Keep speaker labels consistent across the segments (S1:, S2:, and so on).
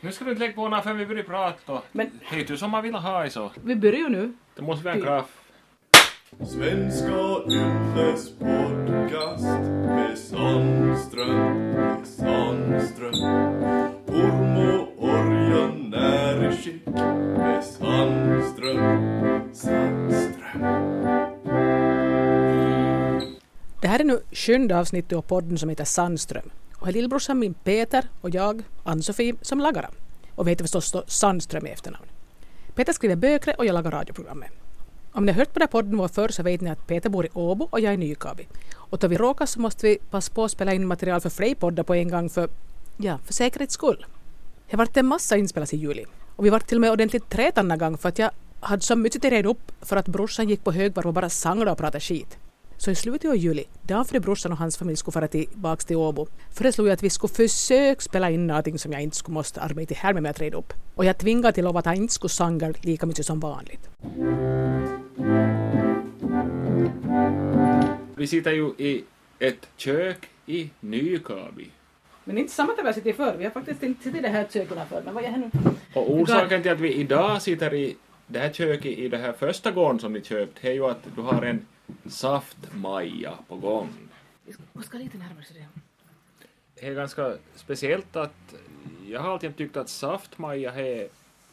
S1: Nu ska du inte lägga på något förrän vi börjar prata. då.
S2: Men-
S1: Vet du som man vill ha i så?
S2: Vi börjar ju nu.
S1: Det måste vara en kraft.
S3: Svenska Yles podcast med Sandström, med Sandström. Orm och Orjan är i skick med Sandström, Sandström.
S2: Det här är nu sjunde avsnittet av podden som heter Sandström. Och här är lillbrorsan min Peter och jag, Ann-Sofie, som lagar den. Och vi heter förstås då Sandström i efternamn. Peter skriver böcker och jag lagar radioprogrammet. Om ni har hört på den här podden var förr så vet ni att Peter bor i Åbo och jag i Nykabi. Och då vi råkar så måste vi passa på att spela in material för fler poddar på en gång för, ja, för säkerhets skull. Det vart en massa inspelas i juli. Och vi vart till och med ordentligt trätanna gång för att jag hade så mycket att reda upp för att brorsan gick på högvarv och bara sangla och pratade skit. Så i slutet av juli, dagen före brorsan och hans familj skulle fara tillbaka till Åbo, föreslog jag att vi skulle försöka spela in någonting som jag inte skulle måste arbeta här med att reda upp. Och jag tvingade till lov att jag inte skulle sanga lika mycket som vanligt.
S1: Vi sitter ju i ett kök i Nykabi.
S2: Men inte samma som jag sitter för. Vi har faktiskt inte suttit i det här köket för. Men vad är nu?
S1: Och orsaken till att vi idag sitter i det här köket i det här första gården som ni köpt är ju att du har en saftmaja på gång.
S2: Jag ska lite närmare så det.
S1: Det är ganska speciellt att jag har alltid tyckt att saftmaja är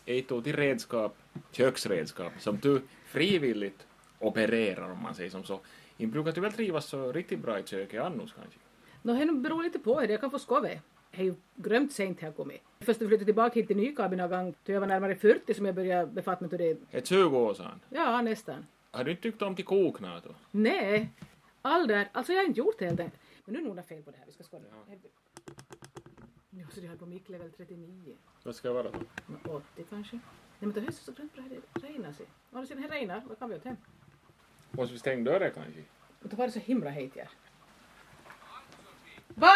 S1: ett av de redskap, köksredskap, som du frivilligt opererar om man säger som så. Inte brukar du väl trivas så riktigt bra i köket annars kanske?
S2: Nå, det beror lite på hur jag kan få skove. Det är ju grömt sent jag har kommit. Först när jag flyttade tillbaka hit till Nykabi någon gång, då jag var närmare 40 som jag började befatta mig med det.
S1: Ett 20 år sedan.
S2: Ja, nästan.
S1: Har du inte tyckt om till kokna då?
S2: Nej, ålder. Alltså jag har inte gjort det helt enkelt. Men nu är det nog något fel på det här. Vi ska skåda. Ja. Nu så du höll på mick level 39.
S1: Vad ska jag vara då?
S2: Men 80 kanske. Nej men det hörs så grönt bra. Det regnar sig. Å andra sidan, det regnar. Vad kan vi åt hem?
S1: Måste vi stänga dörren kanske?
S2: Men då var det så himla hejt här. Va?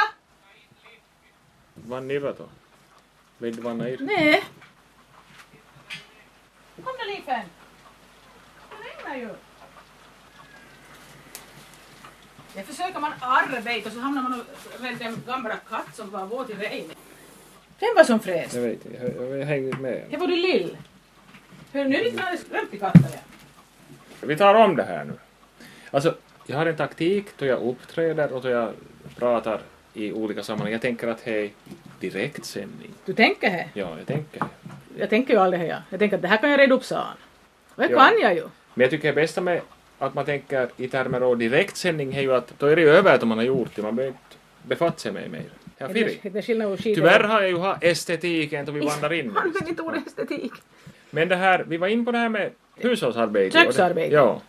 S1: Vad nirrar då? Vill du vara nöjd?
S2: Nej. Kom nu Lifen. Det regnar ju. Det försöker man arbeta och så hamnar man och räddar en gamla katt som var våt i regn. Den var som fräs.
S1: Jag vet inte, jag, jag hänger inte med.
S2: Det var du lill. Hör nu lite grann strömt i katten.
S1: Vi tar om det här nu. Alltså, jag har en taktik då jag uppträder och då jag pratar i olika sammanhang. Jag tänker att hej, direktsändning.
S2: Du tänker här?
S1: Ja, jag tänker.
S2: Jag tänker ju aldrig här. Jag tänker att det här kan jag reda upp, sa han. Och det
S1: Ja.
S2: kan jag ju.
S1: Men jag tycker det bästa med att man tänker i termer av direktsändning är ju att då är det ju över att man har gjort det. Man behöver inte befatta sig med mer. Jag
S2: Det
S1: firar.
S2: är- det är skillnad på skidor.
S1: Tyvärr har jag ju ha estetiken då vi vandrar in.
S2: Använd inte ordet estetik.
S1: Men det här, vi var in på det här med hushållsarbete.
S2: Köksarbete.
S1: Ja.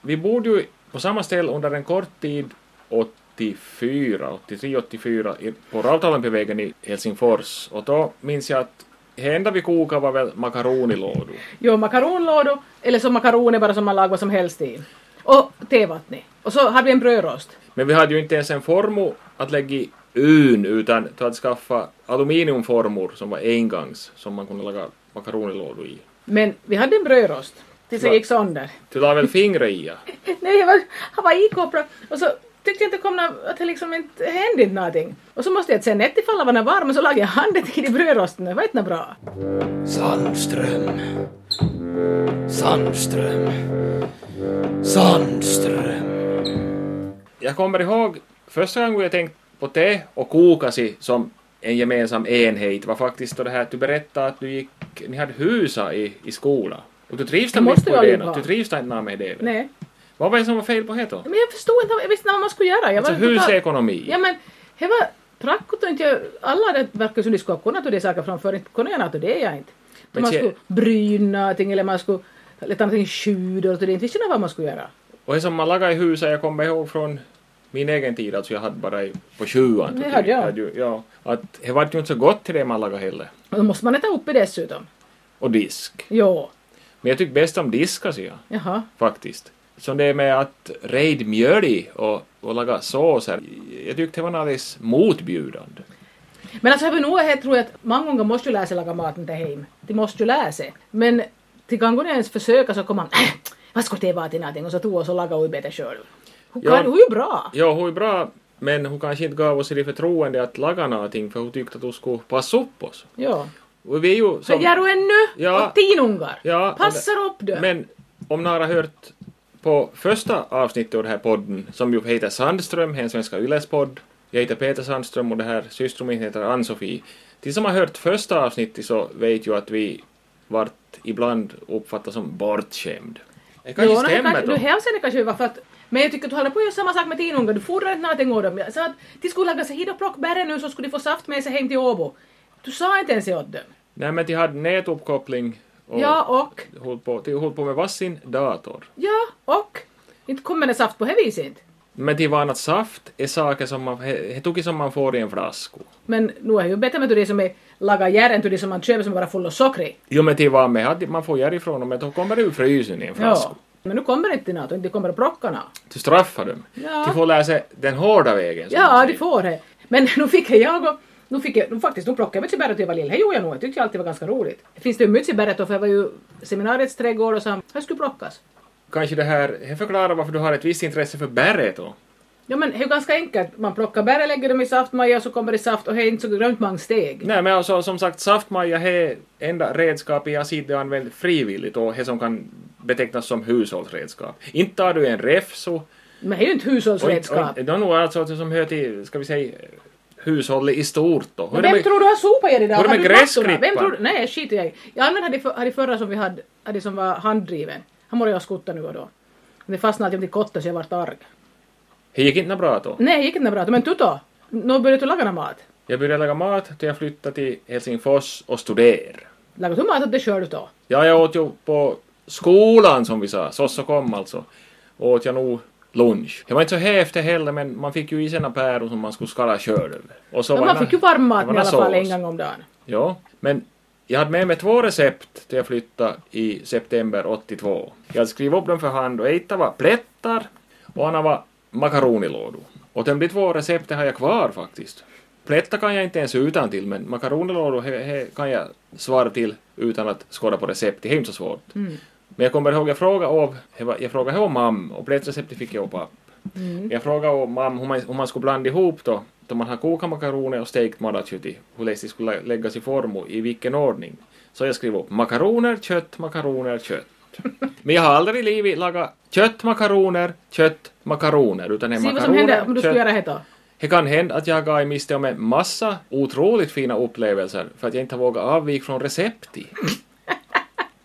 S1: Vi bodde ju på samma ställe under en kort tid 84, 83, 84 i- på Rautalampivägen i Helsingfors och då minns jag att det enda vi kokade var väl makaronilådor.
S2: Jo, makaronlådor, eller så makaroner bara som man lagar vad som helst i. Och tevattnet. Och så hade vi en brödrost.
S1: Men vi hade ju inte ens en formo att lägga i ön utan du hade skaffa aluminiumformor som var engångs som man kunde laga makaronilådor i.
S2: Men vi hade en brödrost tills det
S1: Va?
S2: gick sönder.
S1: Du la väl fingret i? ja?
S2: Nej, jag var, han var ikopplad och så tyckte jag inte kom nå- att det liksom inte hände inte någonting. Och så måste jag sen nätt ifall den var varm och så lagade jag handen till i brödrosten. Det var inte nå bra.
S4: Sandström. Sandström. Sandström.
S1: Jag kommer ihåg första gången jag tänkte på te och kokasi som en gemensam enhet var faktiskt då det här att du berättade att du gick, ni hade husa i, i skolan. Och du trivs
S2: Det
S1: inte
S2: måste
S1: på
S2: jag ju
S1: idén,
S2: vara.
S1: du trivs inte med idén.
S2: Nej,
S1: Vad var det som var fel på det då?
S2: men jag förstod inte, jag visste inte vad man skulle göra. Jag
S1: Alltså
S2: total-
S1: husekonomi.
S2: Ja men, det var praktiskt och inte jag, alla det verkar som de skulle ha kunnat och det saker framför, inte kunde jag något och det är jag inte.
S1: Men
S2: man
S1: se-
S2: skulle bryna någonting eller man skulle leta någonting skjul och det, inte visste jag vad man skulle göra.
S1: Och det som man lagade i huset, jag kommer ihåg från min egen tid, alltså jag hade bara i, på sjuan.
S2: Det
S1: typ.
S2: hade jag.
S1: ju- ja, att det var ju inte så gott till det man lagade heller.
S2: Och då måste man äta upp i dessutom.
S1: Och disk.
S2: Jo,
S1: Men jag tycker bäst om diskasi, ja.
S2: jaha.
S1: faktiskt. Som det är med att rejd mjöl i och, och laga såser. Jag tyckte det var alldeles motbjudande.
S2: Men alltså, även nu tror jag att många gånger måste ju lära sig laga maten till hem. De måste ju lära sig. Men till gången jag ens försöka så kommer man äh, vad ska det vara till någonting? Och så tog och så lagade hon bättre själv. Hon
S1: Ja.
S2: kan, hon är ju bra.
S1: Ja, hon är bra, men hon kanske inte gav oss det förtroende att laga någonting för hon tyckte att hon skulle passa upp oss.
S2: Ja.
S1: Och vi är ju som...
S2: Gör du ännu?
S1: Ja.
S2: Och tinungar.
S1: Ja, och
S2: Passar upp du.
S1: Men om några har hört på första avsnittet av den här podden, som ju heter Sandström, en svenska ylespodd. Jag heter Peter Sandström och det här systermin heter Ann-Sofie. De som har hört första avsnittet så vet ju att vi vart ibland uppfattas som bortskämd. Det kanske
S2: Jo, no,
S1: stämmer
S2: Nu
S1: då.
S2: hälsade kanske vi var för att men jag tycker att du håller på att göra samma sak med tinungar. Du fordrar inte någonting av dem. Jag sa att de skulle lägga sig hit och plocka bären nu så skulle de få saft med sig hem till Åbo. Du sa inte ens det åt dem.
S1: Nej men de hade nätuppkoppling och
S2: Ja, och.
S1: höll, på, de höll på med varsin dator.
S2: Ja, och. Inte kommer det saft på det viset inte.
S1: Men de var att saft är saker som man, he, he tog som man får i en flaska.
S2: Men nu är det ju bättre med det som är lagat järn än det som man köper som bara är full av socker i.
S1: Jo men de var med, hade- man får härifrån och men de kommer ur frysen i en flaska.
S2: Ja. Men nu kommer det inte NATO, inte kommer det plockarna.
S1: Du straffar dem.
S2: Ja.
S1: De får lära sig den hårda vägen. som man
S2: Ja,
S1: säger.
S2: det får det. Men nu fick jag och nu fick jag, nu faktiskt, nu plockade jag mytsebäret och jag var lill. Det gjorde jag nog. Jag tyckte alltid det var ganska roligt. Finns det ju mytsebäret då, för jag var ju i seminariets trädgård och sa, här skulle plockas.
S1: Kanske det här, det förklarar varför du har ett visst intresse för bäret då.
S2: Ja men det är ju ganska enkelt. Man plockar bär, lägger dem i saftmaja och så kommer det saft och det är inte så grönt många steg.
S1: Nej men alltså som sagt, saftmaja är enda redskap jag ser det använt frivilligt och det som kan betecknas som hushållsredskap. Inte tar du en refso.
S2: Men det är ju inte hushållsredskap.
S1: Det är nog alltså det som hör till, ska vi säga, hushållet i stort då. Hur
S2: Men
S1: är det
S2: vem
S1: med-
S2: tror du har sopat er idag?
S1: Hur är det
S2: Har
S1: med
S2: du mattorna?
S1: gräsklippan?
S2: Vem tror du? Nej, skit jag i. Jag använde hade, för, hade förra som vi hade, hade som var handdriven. Han måste jag skutta nu och då. Men Det fastnade alltid i kottet så jag vart arg.
S1: Det gick inte bra då.
S2: Nej, det gick inte bra. Men Tuto, nu började du laga någon mat.
S1: Jag började laga mat då jag flyttade till Helsingfors och studerade.
S2: Lagar du mat åt dig själv då?
S1: Ja, jag åt ju på skolan som vi sa, sosso kom alltså, åt jag nog lunch. Det var inte så häftigt heller, men man fick ju i sig några päron som man skulle skala körd över. Och så
S2: Men
S1: var
S2: man
S1: det
S2: fick ju
S1: nå-
S2: varm
S1: det
S2: mat
S1: var
S2: med i alla
S1: nå
S2: fall en
S1: sås.
S2: gång om dagen.
S1: Ja, men jag hade med mig två recept till jag flyttade i september 82. Jag hade skrivit upp dem för hand och ett var plättar och andra var makaronilådor. Och de de två recepten har jag kvar faktiskt. Plättar kan jag inte ens utan till men makaronilådor he, he, kan jag svara till utan att skåda på recept. Det är ju inte så svårt. Men jag kommer ihåg, jag frågade av, det var- jag frågade av mamma och plättreceptet fick jag av pappa.
S2: Mm.
S1: Jag frågade om mamma hur man, hur man skulle blanda ihop då, då man har kokat makaroner och stekt madakött i, hur lätt de skulle läggas i form och i vilken ordning. Så jag skrev upp makaroner, kött, makaroner, kött. Men jag har aldrig i livet lagat kött, makaroner, kött, makaroner, utan det är
S2: Se vad som händer om
S1: makaroner,
S2: du skulle göra
S1: kött.
S2: det då.
S1: Det kan hända att jag går miste om en massa otroligt fina upplevelser för att jag inte har vågat avvika från receptet.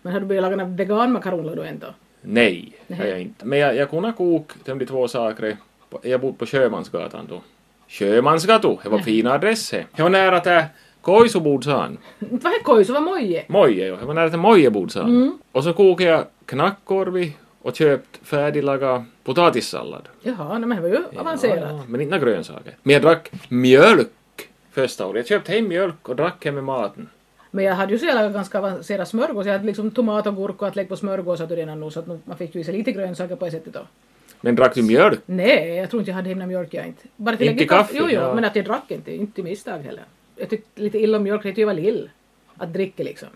S2: Men har du börjat laga några veganmakaroner då ändå?
S1: Nej, det har jag inte. Men jag, jag kunde koka de där två sakerna. på- Jag bodde på Sjömansgatan då. Sjömansgatan, det var fin adress det. Det var nära till Koisubodsan.
S2: Inte var det kojs, det var moje.
S1: Moje, jo. Det var nära till Mojebodsan.
S2: Mm.
S1: Och så kokade jag knackkorvi och köpt färdiglagad potatissallad.
S2: Jaha, nej, men det var ju avancerat.
S1: Ja, men inte några grönsaker. Men jag drack mjölk första året. Jag köpte hem mjölk och drack hem med maten.
S2: Men jag hade ju så jävla ganska avancerad smörgås. Jag hade liksom tomat och gurka att lägga på smörgås hade du redan nu så att nu- man fick ju i sig lite grönsaker på det sättet då.
S1: Men drack du mjölk?
S2: Nej, jag tror inte jag hade hemma mjölk jag inte. Bara till
S1: Inte
S2: lägga i
S1: kaffe,
S2: Jo, jo,
S1: ja.
S2: men att jag drack inte. Inte i misstag heller. Jag tyckte lite illa om mjölk, det tyckte jag var lill. Att dricka liksom.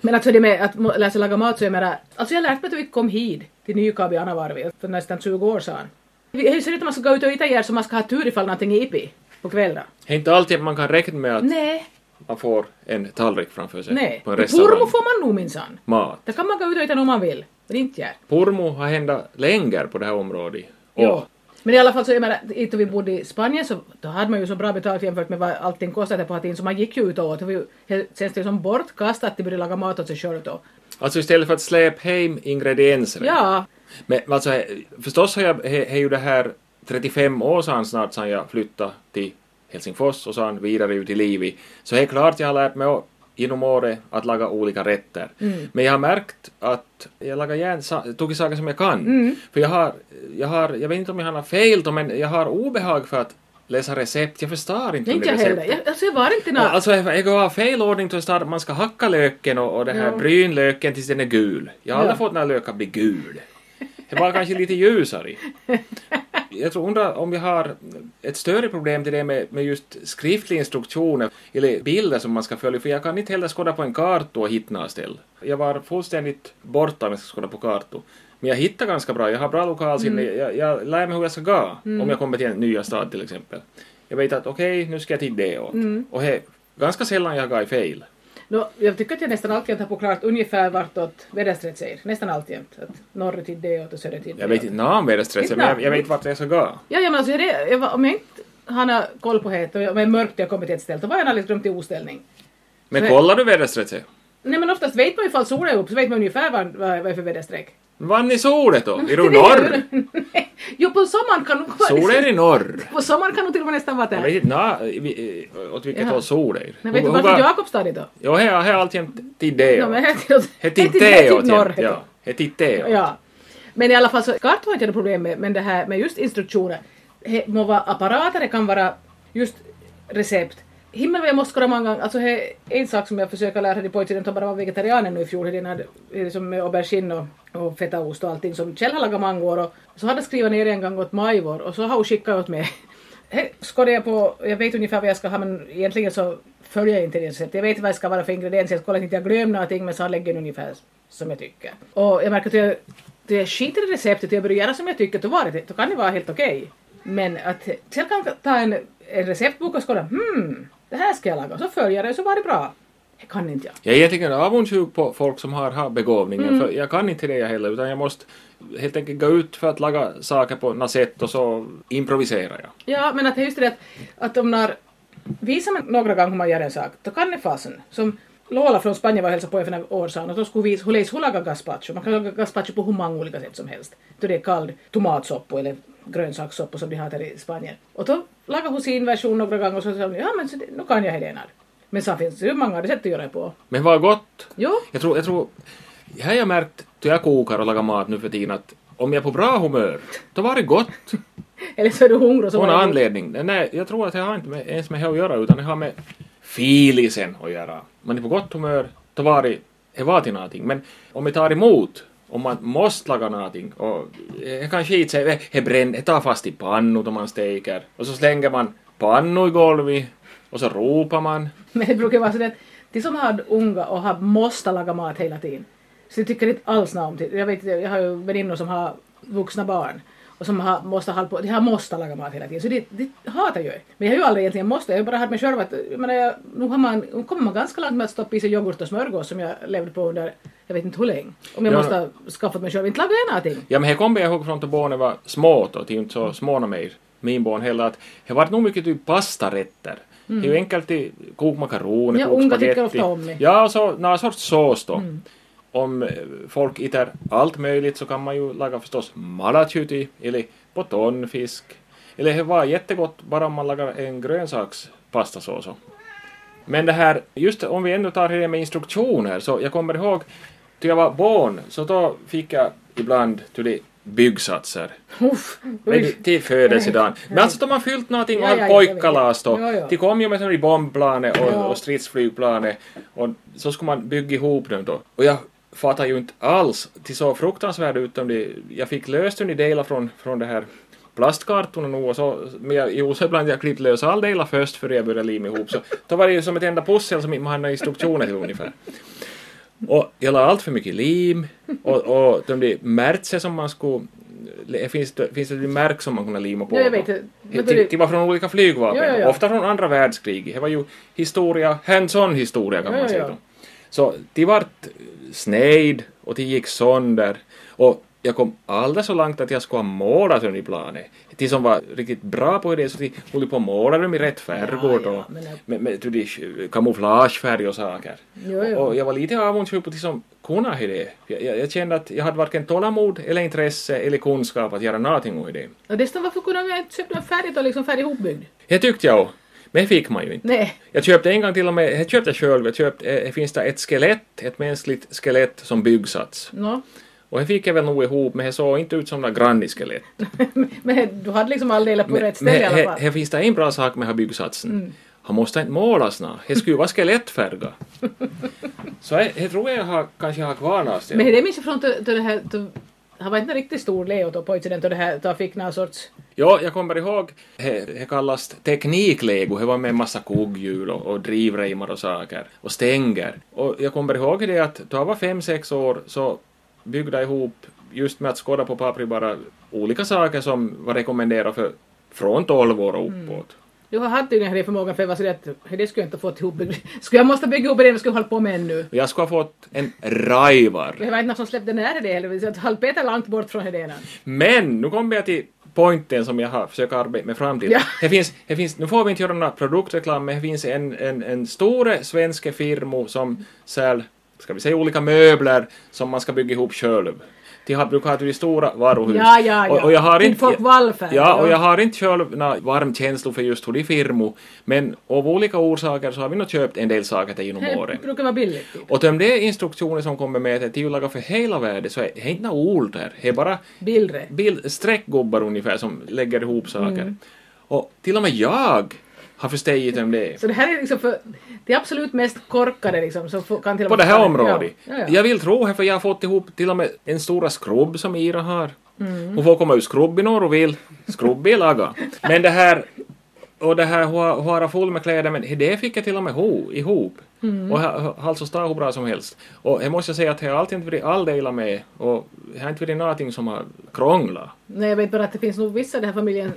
S2: Men alltså det med att må- lära sig laga mat så jag menar, alltså jag har lärt mig att vi kom hit till Nykabi Anavarvi för nästan 20 år sedan. Vi- Det ser ut att man ska gå ut och äta ihjäl så man ska ha tur ifall någonting är ipi på kvällen.
S1: Det är inte alltid man kan räkna med att
S2: Nej,
S1: man får en tallrik framför sig
S2: nej.
S1: på en
S2: Purmo
S1: restaurang.
S2: får man nog minsann.
S1: Mat.
S2: Där kan man gå ut och äta om man vill. Men inte jag.
S1: Pormo har hända längre på det här området. Och
S2: Ja. Men i alla fall så, jag menar, då vi bodde i Spanien så då hade man ju så bra betalt jämfört med vad allting kostade på hatin så man gick ju ut och åt. Det var ju helt- känns det ju som bortkastat att de började laga mat åt sig själv då.
S1: Alltså istället för att släpa hem ingredienser.
S2: Ja,
S1: Men alltså, he- förstås har jag he, he ju det här 35 år sedan snart sedan jag flyttade till Helsingfors och sedan vidare ut i livet. Så det är klart jag har lärt mig å- genom året att laga olika rätter.
S2: Mm.
S1: Men jag har märkt att jag lagar gärna sa- tog i saker som jag kan.
S2: Mm.
S1: För jag har, jag har, jag vet inte om jag har något fel då, men jag har obehag för att läsa recept. Jag förstår inte
S2: det är
S1: de
S2: inte jag
S1: recepten.
S2: heller. Jag, alltså jag var inte nå.
S1: Ja, Alltså, jag går av fel ordning till start. Man ska hacka löken och, och det här
S2: Ja.
S1: brynlöken tills den är gul. Jag har aldrig
S2: Ja.
S1: fått några lökar bli gul. Det var kanske lite ljusare. Jag tror undrar om jag har ett större problem till det med, med just skriftliga instruktioner eller bilder som man ska följa, för jag kan inte heller skåda på en karta och hitta några ställe. Jag var fullständigt borta om jag ska skåda på kartor. Men jag hittar ganska bra, jag har bra lokalsinne, jag, jag lär mig hur jag ska gå om jag kommer till en nya stad till Mm. exempel. Jag vet att okej, nu ska jag till det åt. Och he, ganska sällan jag går i fel.
S2: Nå, jag tycker att jag nästan alltid har på klart ungefär vartåt väderstreck säger. Nästan alltjämt. Att norrtid det åt och södertid det
S1: Jag vet
S2: åt.
S1: inte namn med det stressen, men jag, jag vet inte vart jag ska gå.
S2: Ja, ja men alltså, jag, re- jag, var- om jag inte har koll på det, och jag- om det är mörkt och jag kommer till ett ställe, då var jag alldeles glömt i oställning.
S1: Men
S2: Nej.
S1: kollar du väderstressen?
S2: Nej men oftast vet man ju ifall solen är upp, så vet man ungefär vad, vad, vad det är för väderstreck.
S1: Vann i solet då? Är du norr?
S2: Nej. jo, på sommaren kan nog vara...
S1: Solen är i norr.
S2: På sommaren kan nog till och med nästan vara
S1: Jag vet
S2: där.
S1: inte na, vi- eh, åt vilket
S2: Jaha.
S1: håll sol är.
S2: Men vet du
S1: Hon-
S2: varför
S1: hon var-
S2: Jakobstad då?
S1: Jo, här här är alltjämt till det.
S2: Ja,
S1: ja.
S2: men här till-
S1: Här
S2: här
S1: till
S2: till-
S1: det.
S2: här till
S1: åt
S2: typ norr,
S1: jämt,
S2: heter
S1: typ. Ja, här till det. åt.
S2: Ja. Men i alla fall så, kart har inte jag problem med, men det här med just instruktioner. Det må vara apparater, det kan vara just recept. Himmel vad jag måste göra många gånger. Alltså det är en sak som jag försöker lära henne pojken, den tar bara var vegetarianer nu i fjol, den hade eh, som med aubergine och, och fetaost och allting som Kjell har lagat många år och så hade jag skrivit ner en gång åt majvor och så har hon skickat åt mig. Här skådde jag på, jag vet ungefär vad jag ska ha men egentligen så följer jag inte det receptet. Jag vet vad det ska vara för ingredienser, jag kollar inte jag glömmer någonting men så lägger jag ungefär som jag tycker. Och jag märker att jag, det jag skiter i receptet och jag börjar göra som jag tycker, då, var det, då kan det vara helt okej. Men att sen kan jag ta en, en receptbok och skåda, hmm, det här ska jag laga. Och så följer jag det så var det bra. Det kan inte jag.
S1: Jag är egentligen avundsjuk på folk som har, har begåvningen,
S2: Mm.
S1: för jag kan inte det jag heller, utan jag måste helt enkelt gå ut för att laga saker på något sätt och så improviserar jag.
S2: Ja, men att det är just det att, att om när visar man några gånger hur man gör en sak, då kan det fasen. Som Lola från Spanien var och hälsade på för några år sedan och då skulle visa hur läs- hur lagar gazpacho. Man kan laga gazpacho på hur många olika sätt som helst. Då det är kall tomatsoppa eller grönsakssoppa som de har där i Spanien. Och då lagade hon sin version några gånger och så sa hon ja men så det, nu kan jag Helena. Men sen finns det ju många sätt att göra det på.
S1: Men vad gott!
S2: Jo,
S1: Jag tror, jag tror, här har jag märkt, då jag kokar och lagar mat nu för tiden, att om jag är på bra humör, då var det gott.
S2: eller så är du hungrig och så
S1: På någon
S2: var det-
S1: anledning. Nej, jag tror att det har inte med, ens med det att göra, utan det har med filisen att göra. Man är på gott humör, då var det, det var till någonting. Men om vi tar emot, om man måste laga någonting, och det kan skita sig, det "Eh, bränner, det tar fast i pannor då man steker, och så slänger man pannor i golvet, och så ropar man.
S2: Men det brukar vara så att de som har unga och har måste laga mat hela tiden, så de tycker inte alls om det. Jag, vet, inte, jag har ju väninnor som har vuxna barn och som har, måste, hålla på, de har måste laga mat hela tiden, så de, de hatar ju det. Men jag har ju aldrig egentligen måste, jag har bara haft mig själv att, jag menar, jag, nu, har man, nu kommer man ganska långt med att stoppa i sig yoghurt och smörgås som jag levde på under, jag vet inte hur länge. Om jag
S1: Ja.
S2: måste ha skaffat mig själv, inte laga jag någonting.
S1: Ja, men här kommer jag ihåg från då barnen var små, då, till inte
S2: Mm.
S1: så små nå mer, min barn heller, att det var nog mycket typ pastarätter. Det är ju enkelt i kok makaroner,
S2: Mm. Ja,
S1: kok
S2: unga tycker
S1: spagetti.
S2: ofta om Mm. det.
S1: Ja, och så någon sorts sås då. Om eh, folk äter allt möjligt så kan man ju laga förstås malachuti eller potonfisk. Eller det var jättegott bara om man lagar en grönsakspastasås. och- men det här, just om vi ändå tar det med instruktioner, så jag kommer ihåg, då jag var barn, så då fick jag ibland till det byggsatser.
S2: Uff,
S1: Men det- Till födelsedagen. Men alltså de har fyllt någonting och
S2: Ja, ja,
S1: haft
S2: ja, jag vet.
S1: pojkkalas då.
S2: Ja, ja.
S1: De kom ju med sådana bombplanet
S2: Ja.
S1: och, och stridsflygplanet och så skulle man bygga ihop dem då. Och jag fattar ju inte alls. Det såg fruktansvärt ut. om det- Jag fick löst dem i delar från, från det här plastkartorna nog och så, men jag, jo, så ibland jag klippt lös all delar först före jag började limma ihop så då var det ju som ett enda pussel som inte man hade några instruktioner till ungefär. Och jag la allt för mycket lim och, och de där märtser som man skulle... Det finns, det finns ett märk som man kunde lima på.
S2: Ja, jag vet. Men
S1: Det,
S2: då är det-
S1: det var från olika flygvapen,
S2: Ja, ja, ja.
S1: ofta från andra världskriget. Det var ju historia, hands-on historia kan
S2: Ja,
S1: man
S2: ja,
S1: säga
S2: ja.
S1: då. Så de vart snejd och de gick sönder. Och jag kom aldrig så långt att jag skulle ha målat dem i planet. De som var riktigt bra på det, så de höll på att måla dem i rätt färger
S2: Ja, ja,
S1: då.
S2: men-
S1: Med, med, med, med kamouflagefärg och saker.
S2: Jo, jo.
S1: Och jag var lite avundsjuk på de som kunde ha det. Jag, jag, jag kände att jag hade varken tålamod eller intresse eller kunskap att göra någonting åt det.
S2: Och dessutom varför kunde jag inte köpa den färdigt och liksom färdig ihopbyggd?
S1: Det tyckte jag också. Men det fick man ju inte.
S2: Nej.
S1: Jag köpte en gång till och med, jag köpte själv, jag köpte, eh, finns det ett skelett, ett mänskligt skelett som byggsats.
S2: Nå.
S1: Och det fick jag väl nog ihop, men det såg inte ut som några granniskelett.
S2: Men du hade liksom all delar på rätt ställe i
S1: men
S2: alla
S1: här,
S2: fall. Mm.
S1: här finns det en bra sak med den här byggsatsen. Han måste inte målas nå. Det skulle ju vara skelettfärga. Så det det tror jag jag har, kanske jag har kvar någonstans.
S2: Men det minns jag från då då det här, då, han var inte en riktigt stor Leo då på incident och det här, då han fick någon sorts,
S1: Ja, jag kommer ihåg, det det kallas tekniklego, det var med en massa koghjul och, och drivreimar och saker, och stänger. Och jag kommer ihåg det att då jag var fem, sex år så byggde jag ihop, just med att skåda på papper bara olika saker som var rekommenderat för från 12 år och uppåt.
S2: Du har haft tydligen den förmågan för Eva, så det, att- det skulle jag inte ha fått ihop. Skulle jag måste bygga ihop det, skulle jag hålla på med ännu.
S1: Jag skulle ha fått en rajvar.
S2: Det var inte någon som släppte nära det heller, det vill säga att halv Peter långt bort från idén.
S1: Men nu kommer jag till pointen som jag har försökt arbeta mig fram till.
S2: Ja.
S1: Det finns, det finns, nu får vi inte göra några produktreklam, men det finns en, en, en stor svensk firma som säljer, ska vi säga olika möbler som man ska bygga ihop själv. De har, brukar ha till de stora varuhus.
S2: Ja, ja, ja.
S1: Och, och jag har
S2: Till
S1: inte,
S2: folk vallfärd,
S1: ja, och
S2: ja.
S1: jag har inte själv några varm känsla för just hur de firmo, men av olika orsaker så har vi nog köpt en del saker till genom åren.
S2: Det brukar vara billigt. typ.
S1: Och om det är instruktioner som kommer med att tillaga för hela världen så är det inte några ord där. Det är bara
S2: Bilder.
S1: bild, streckgubbar ungefär som lägger ihop saker.
S2: Mm.
S1: Och till och med jag har förstått om det.
S2: Så det här är liksom för det absolut mest korkade liksom, som får- kan till och
S1: På
S2: med-
S1: det här området.
S2: Ja, ja, ja.
S1: Jag vill tro det för jag har fått ihop till och med en stora skrubb som Ira har.
S2: Mm.
S1: Hon får komma ur skrubben när hon vill. Skrubb är laga. Men det här och det här hon har- hon har full med kläder men det fick jag till och med ho, ihop.
S2: Mm.
S1: Och jag har alltså stått hur bra som helst. Och det måste jag säga att det har alltid inte varit alldela med och det har inte varit någonting som har krånglat.
S2: Nej, jag vet bara att det finns nog vissa i den här familjen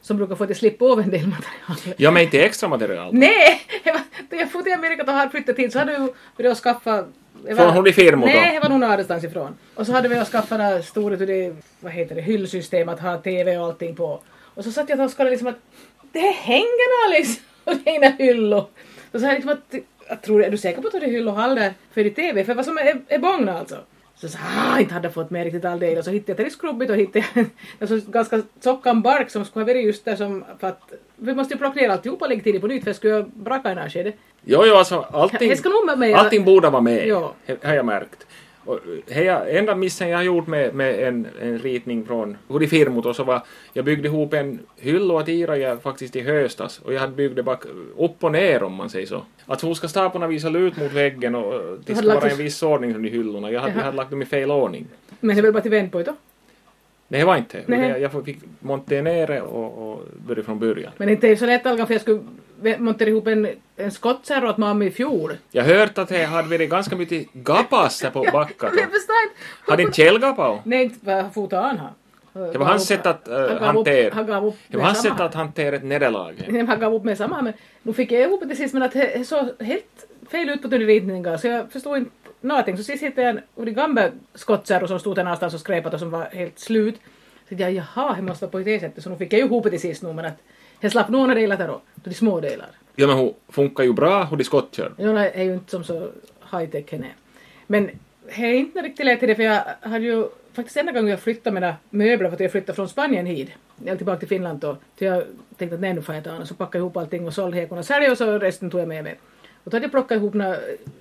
S2: som brukar få till slippa av en del material.
S1: Ja men inte extra material.
S2: Nej! det var- Då jag for till Amerika och har flyttat hit så hade vi börjat skaffa... det var-
S1: Från hon i firmor då?
S2: Nej, det var nog någon annanstans ifrån. Och så hade vi att skaffa det här stora till det, vad heter det, hyllsystem att ha TV och allting på. Och så satt jag och kollade liksom att det här hänger nog liksom och det är inga hyllor. Och så här liksom att, jag tror, är du säker på att du hade hyllor och hall där för din TV? För vad som är, är bångna alltså. Så jag sa ah, inte hade jag fått med riktigt all del och så hittade jag till skrubbigt och hittade en alltså, ganska tjockan bark som skulle ha varit just där som för att vi måste ju plocka ner alltihop och lägga till det på nytt för jag skulle jag braka i det här skedet.
S1: Jo, jo, alltså allting,
S2: Jag ska nog med mig-
S1: allting borde vara med,
S2: Ja.
S1: he- har jag märkt. Och, eh, har jag, enda missen jag har gjort med, med en, en ritning från Hurifirmut och så var jag byggde ihop en hylla åt Ira jag faktiskt i höstas och jag hade byggt det bak, upp och ner om man säger så. Att hon ska staporna visa ut mot väggen och eh, det
S2: hade
S1: ska
S2: lagt
S1: vara
S2: dem-
S1: en viss ordning som de hyllorna. Jag hade, jag hade lagt dem i fel ordning.
S2: Men det var bara till vänd på det då.
S1: Nej, det var inte.
S2: Nej.
S1: Jag, jag fick montera ner det och, och börja från början.
S2: Men inte är det så lätt Algan för jag skulle montera ihop en, en skottkärra åt mamma i fjol.
S1: Jag hört att det hade varit ganska mycket gapas här på backarna.
S2: Men jag förstår inte.
S1: Hade inte Kjell gapat?
S2: Nej, inte vad fotar han har.
S1: Det var hans sätt att eh, hantera.
S2: Han gav upp
S1: Det var
S2: med
S1: hans
S2: samma.
S1: sätt att hantera ett nederlag.
S2: Nej, men han gav upp med samma. Men nu fick jag ihop det till sist men att det det såg helt fel ut på den ritningen så jag förstod inte någonting. Så sist hittade jag en origami skottkärra som stod där någonstans och skräpat och som var helt slut. Så tänkte jag jaha, det måste vara på det sättet. Så nu fick jag ju ihop det till sist nu men att jag slapp några delar där då. Då de små delar.
S1: Ja men hon funkar ju bra, hon är skottkörd.
S2: Jonna är ju inte som så high-tech henne är. Men det är inte riktigt lätt i det för jag hade ju faktiskt enda gången jag flyttade mina möbler för att jag flyttade från Spanien hit. Eller tillbaka till Finland då. Så jag tänkte att nej nu får jag ta annars så packade jag ihop allting och sålde hekorna och sälja och så resten tog jag med mig. Och då hade jag plockat ihop några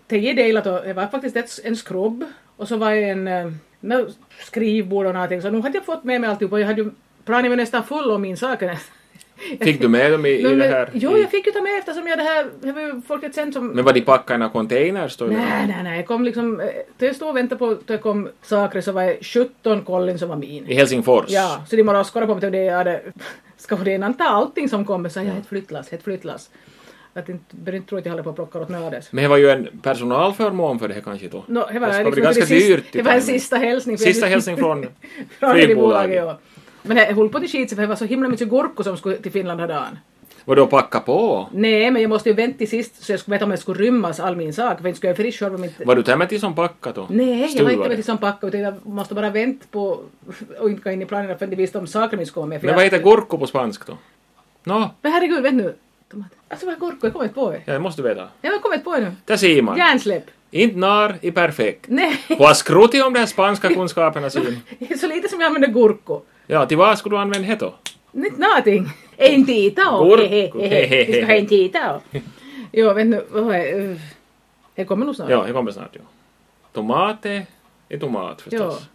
S2: tio delar då. Det var faktiskt ett, en skrubb och så var det en eh, nå skrivbord och någonting. Så nu hade jag fått med mig alltihop och jag hade ju planen var nästan full om min saker.
S1: Fick du med dem i, i
S2: Men-
S1: det här?
S2: Jo,
S1: i-
S2: jag fick ju ta med eftersom jag det här, det var ju folket sen som
S1: Men var de packade i några containers då?
S2: Nej, nej, nej. Jag kom liksom... eh, Då jag stod och väntade på att jag kom saker så var det 17 kollin som var min.
S1: I Helsingfors?
S2: Ja, så de bara skådade på mig till det jag hade... Ska det en anta allting som kommer så jag ett flyttlass, ett flyttlass. Att inte, bör inte tro att jag håller på att plocka åt nödes.
S1: Men det var ju en personalförmån för det här kanske då?
S2: No, det var,
S1: ska
S2: liksom
S1: bli ganska
S2: det sista-
S1: dyrt i
S2: Det var en
S1: timing.
S2: sista hälsning. för jag-
S1: Sista hälsning från
S2: från
S1: flygbolaget.
S2: flygbolaget. Ja. Men jag höll på att skita sig för det var så himla mycket gurkor som skulle till Finland den här dagen.
S1: Var det att packa på?
S2: Nej, men jag måste ju vänta till sist så jag skulle veta om jag skulle rymmas all min sak. För inte skulle jag frisk själv om inte...
S1: Var du tämmet som packade då?
S2: Nej, jag var inte
S1: Stuvade.
S2: med som packa utan jag måste bara vänta på och inte gå in i planerna förrän de visste om sakerna vi skulle komma med. för
S1: Men
S2: jag-
S1: vad heter gurko på spanska då? Nå,
S2: Men herregud, vänta nu. Tomat. Alltså vad är gurka? Jag kommer inte på det.
S1: ja, det måste du veta.
S2: Jag har kommit på det nu.
S1: Där ser man.
S2: Hjärnsläpp.
S1: Inte när i perfekt.
S2: Nej,
S1: Hon har skrotit om de här spanska kunskaperna sin.
S2: så lite som jag använder gurko.
S1: Ja, till vad skulle du använda det då?
S2: Inte någonting. En titao.
S1: Gurko.
S2: Vi ska ha en titao. Jo, vänta nu. Vad var det? Eh, Det kommer nog snart.
S1: Ja, det kommer snart. Ja. Tomate är tomat förstås.
S2: Ja.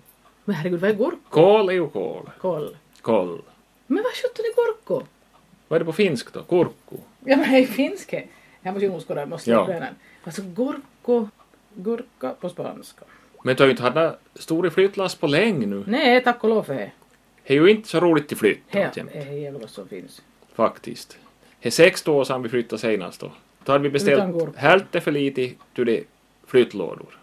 S2: Men herregud, vad är gurko?
S1: Kål är ju kål.
S2: Koll.
S1: Kål.
S2: Men vad sjutton är gurko?
S1: Vad är det på finsk då? Kurkku?
S2: Ja, men det är finska. Jag måste ju nog skåda, måste
S1: Ja.
S2: jag bönan. Alltså gurko, gurka på spanska.
S1: Men du har ju inte haft några stora flyttlass på länge nu.
S2: Nej, tack och lov för det.
S1: Det är ju inte så roligt till flytt
S2: Här
S1: alltjämt,
S2: är det jävla vad som finns.
S1: faktiskt. Det är 16 år sedan vi flyttade senast då. Då hade vi
S2: Utan
S1: beställt
S2: gurka.
S1: hälften för lite till de flyttlådor.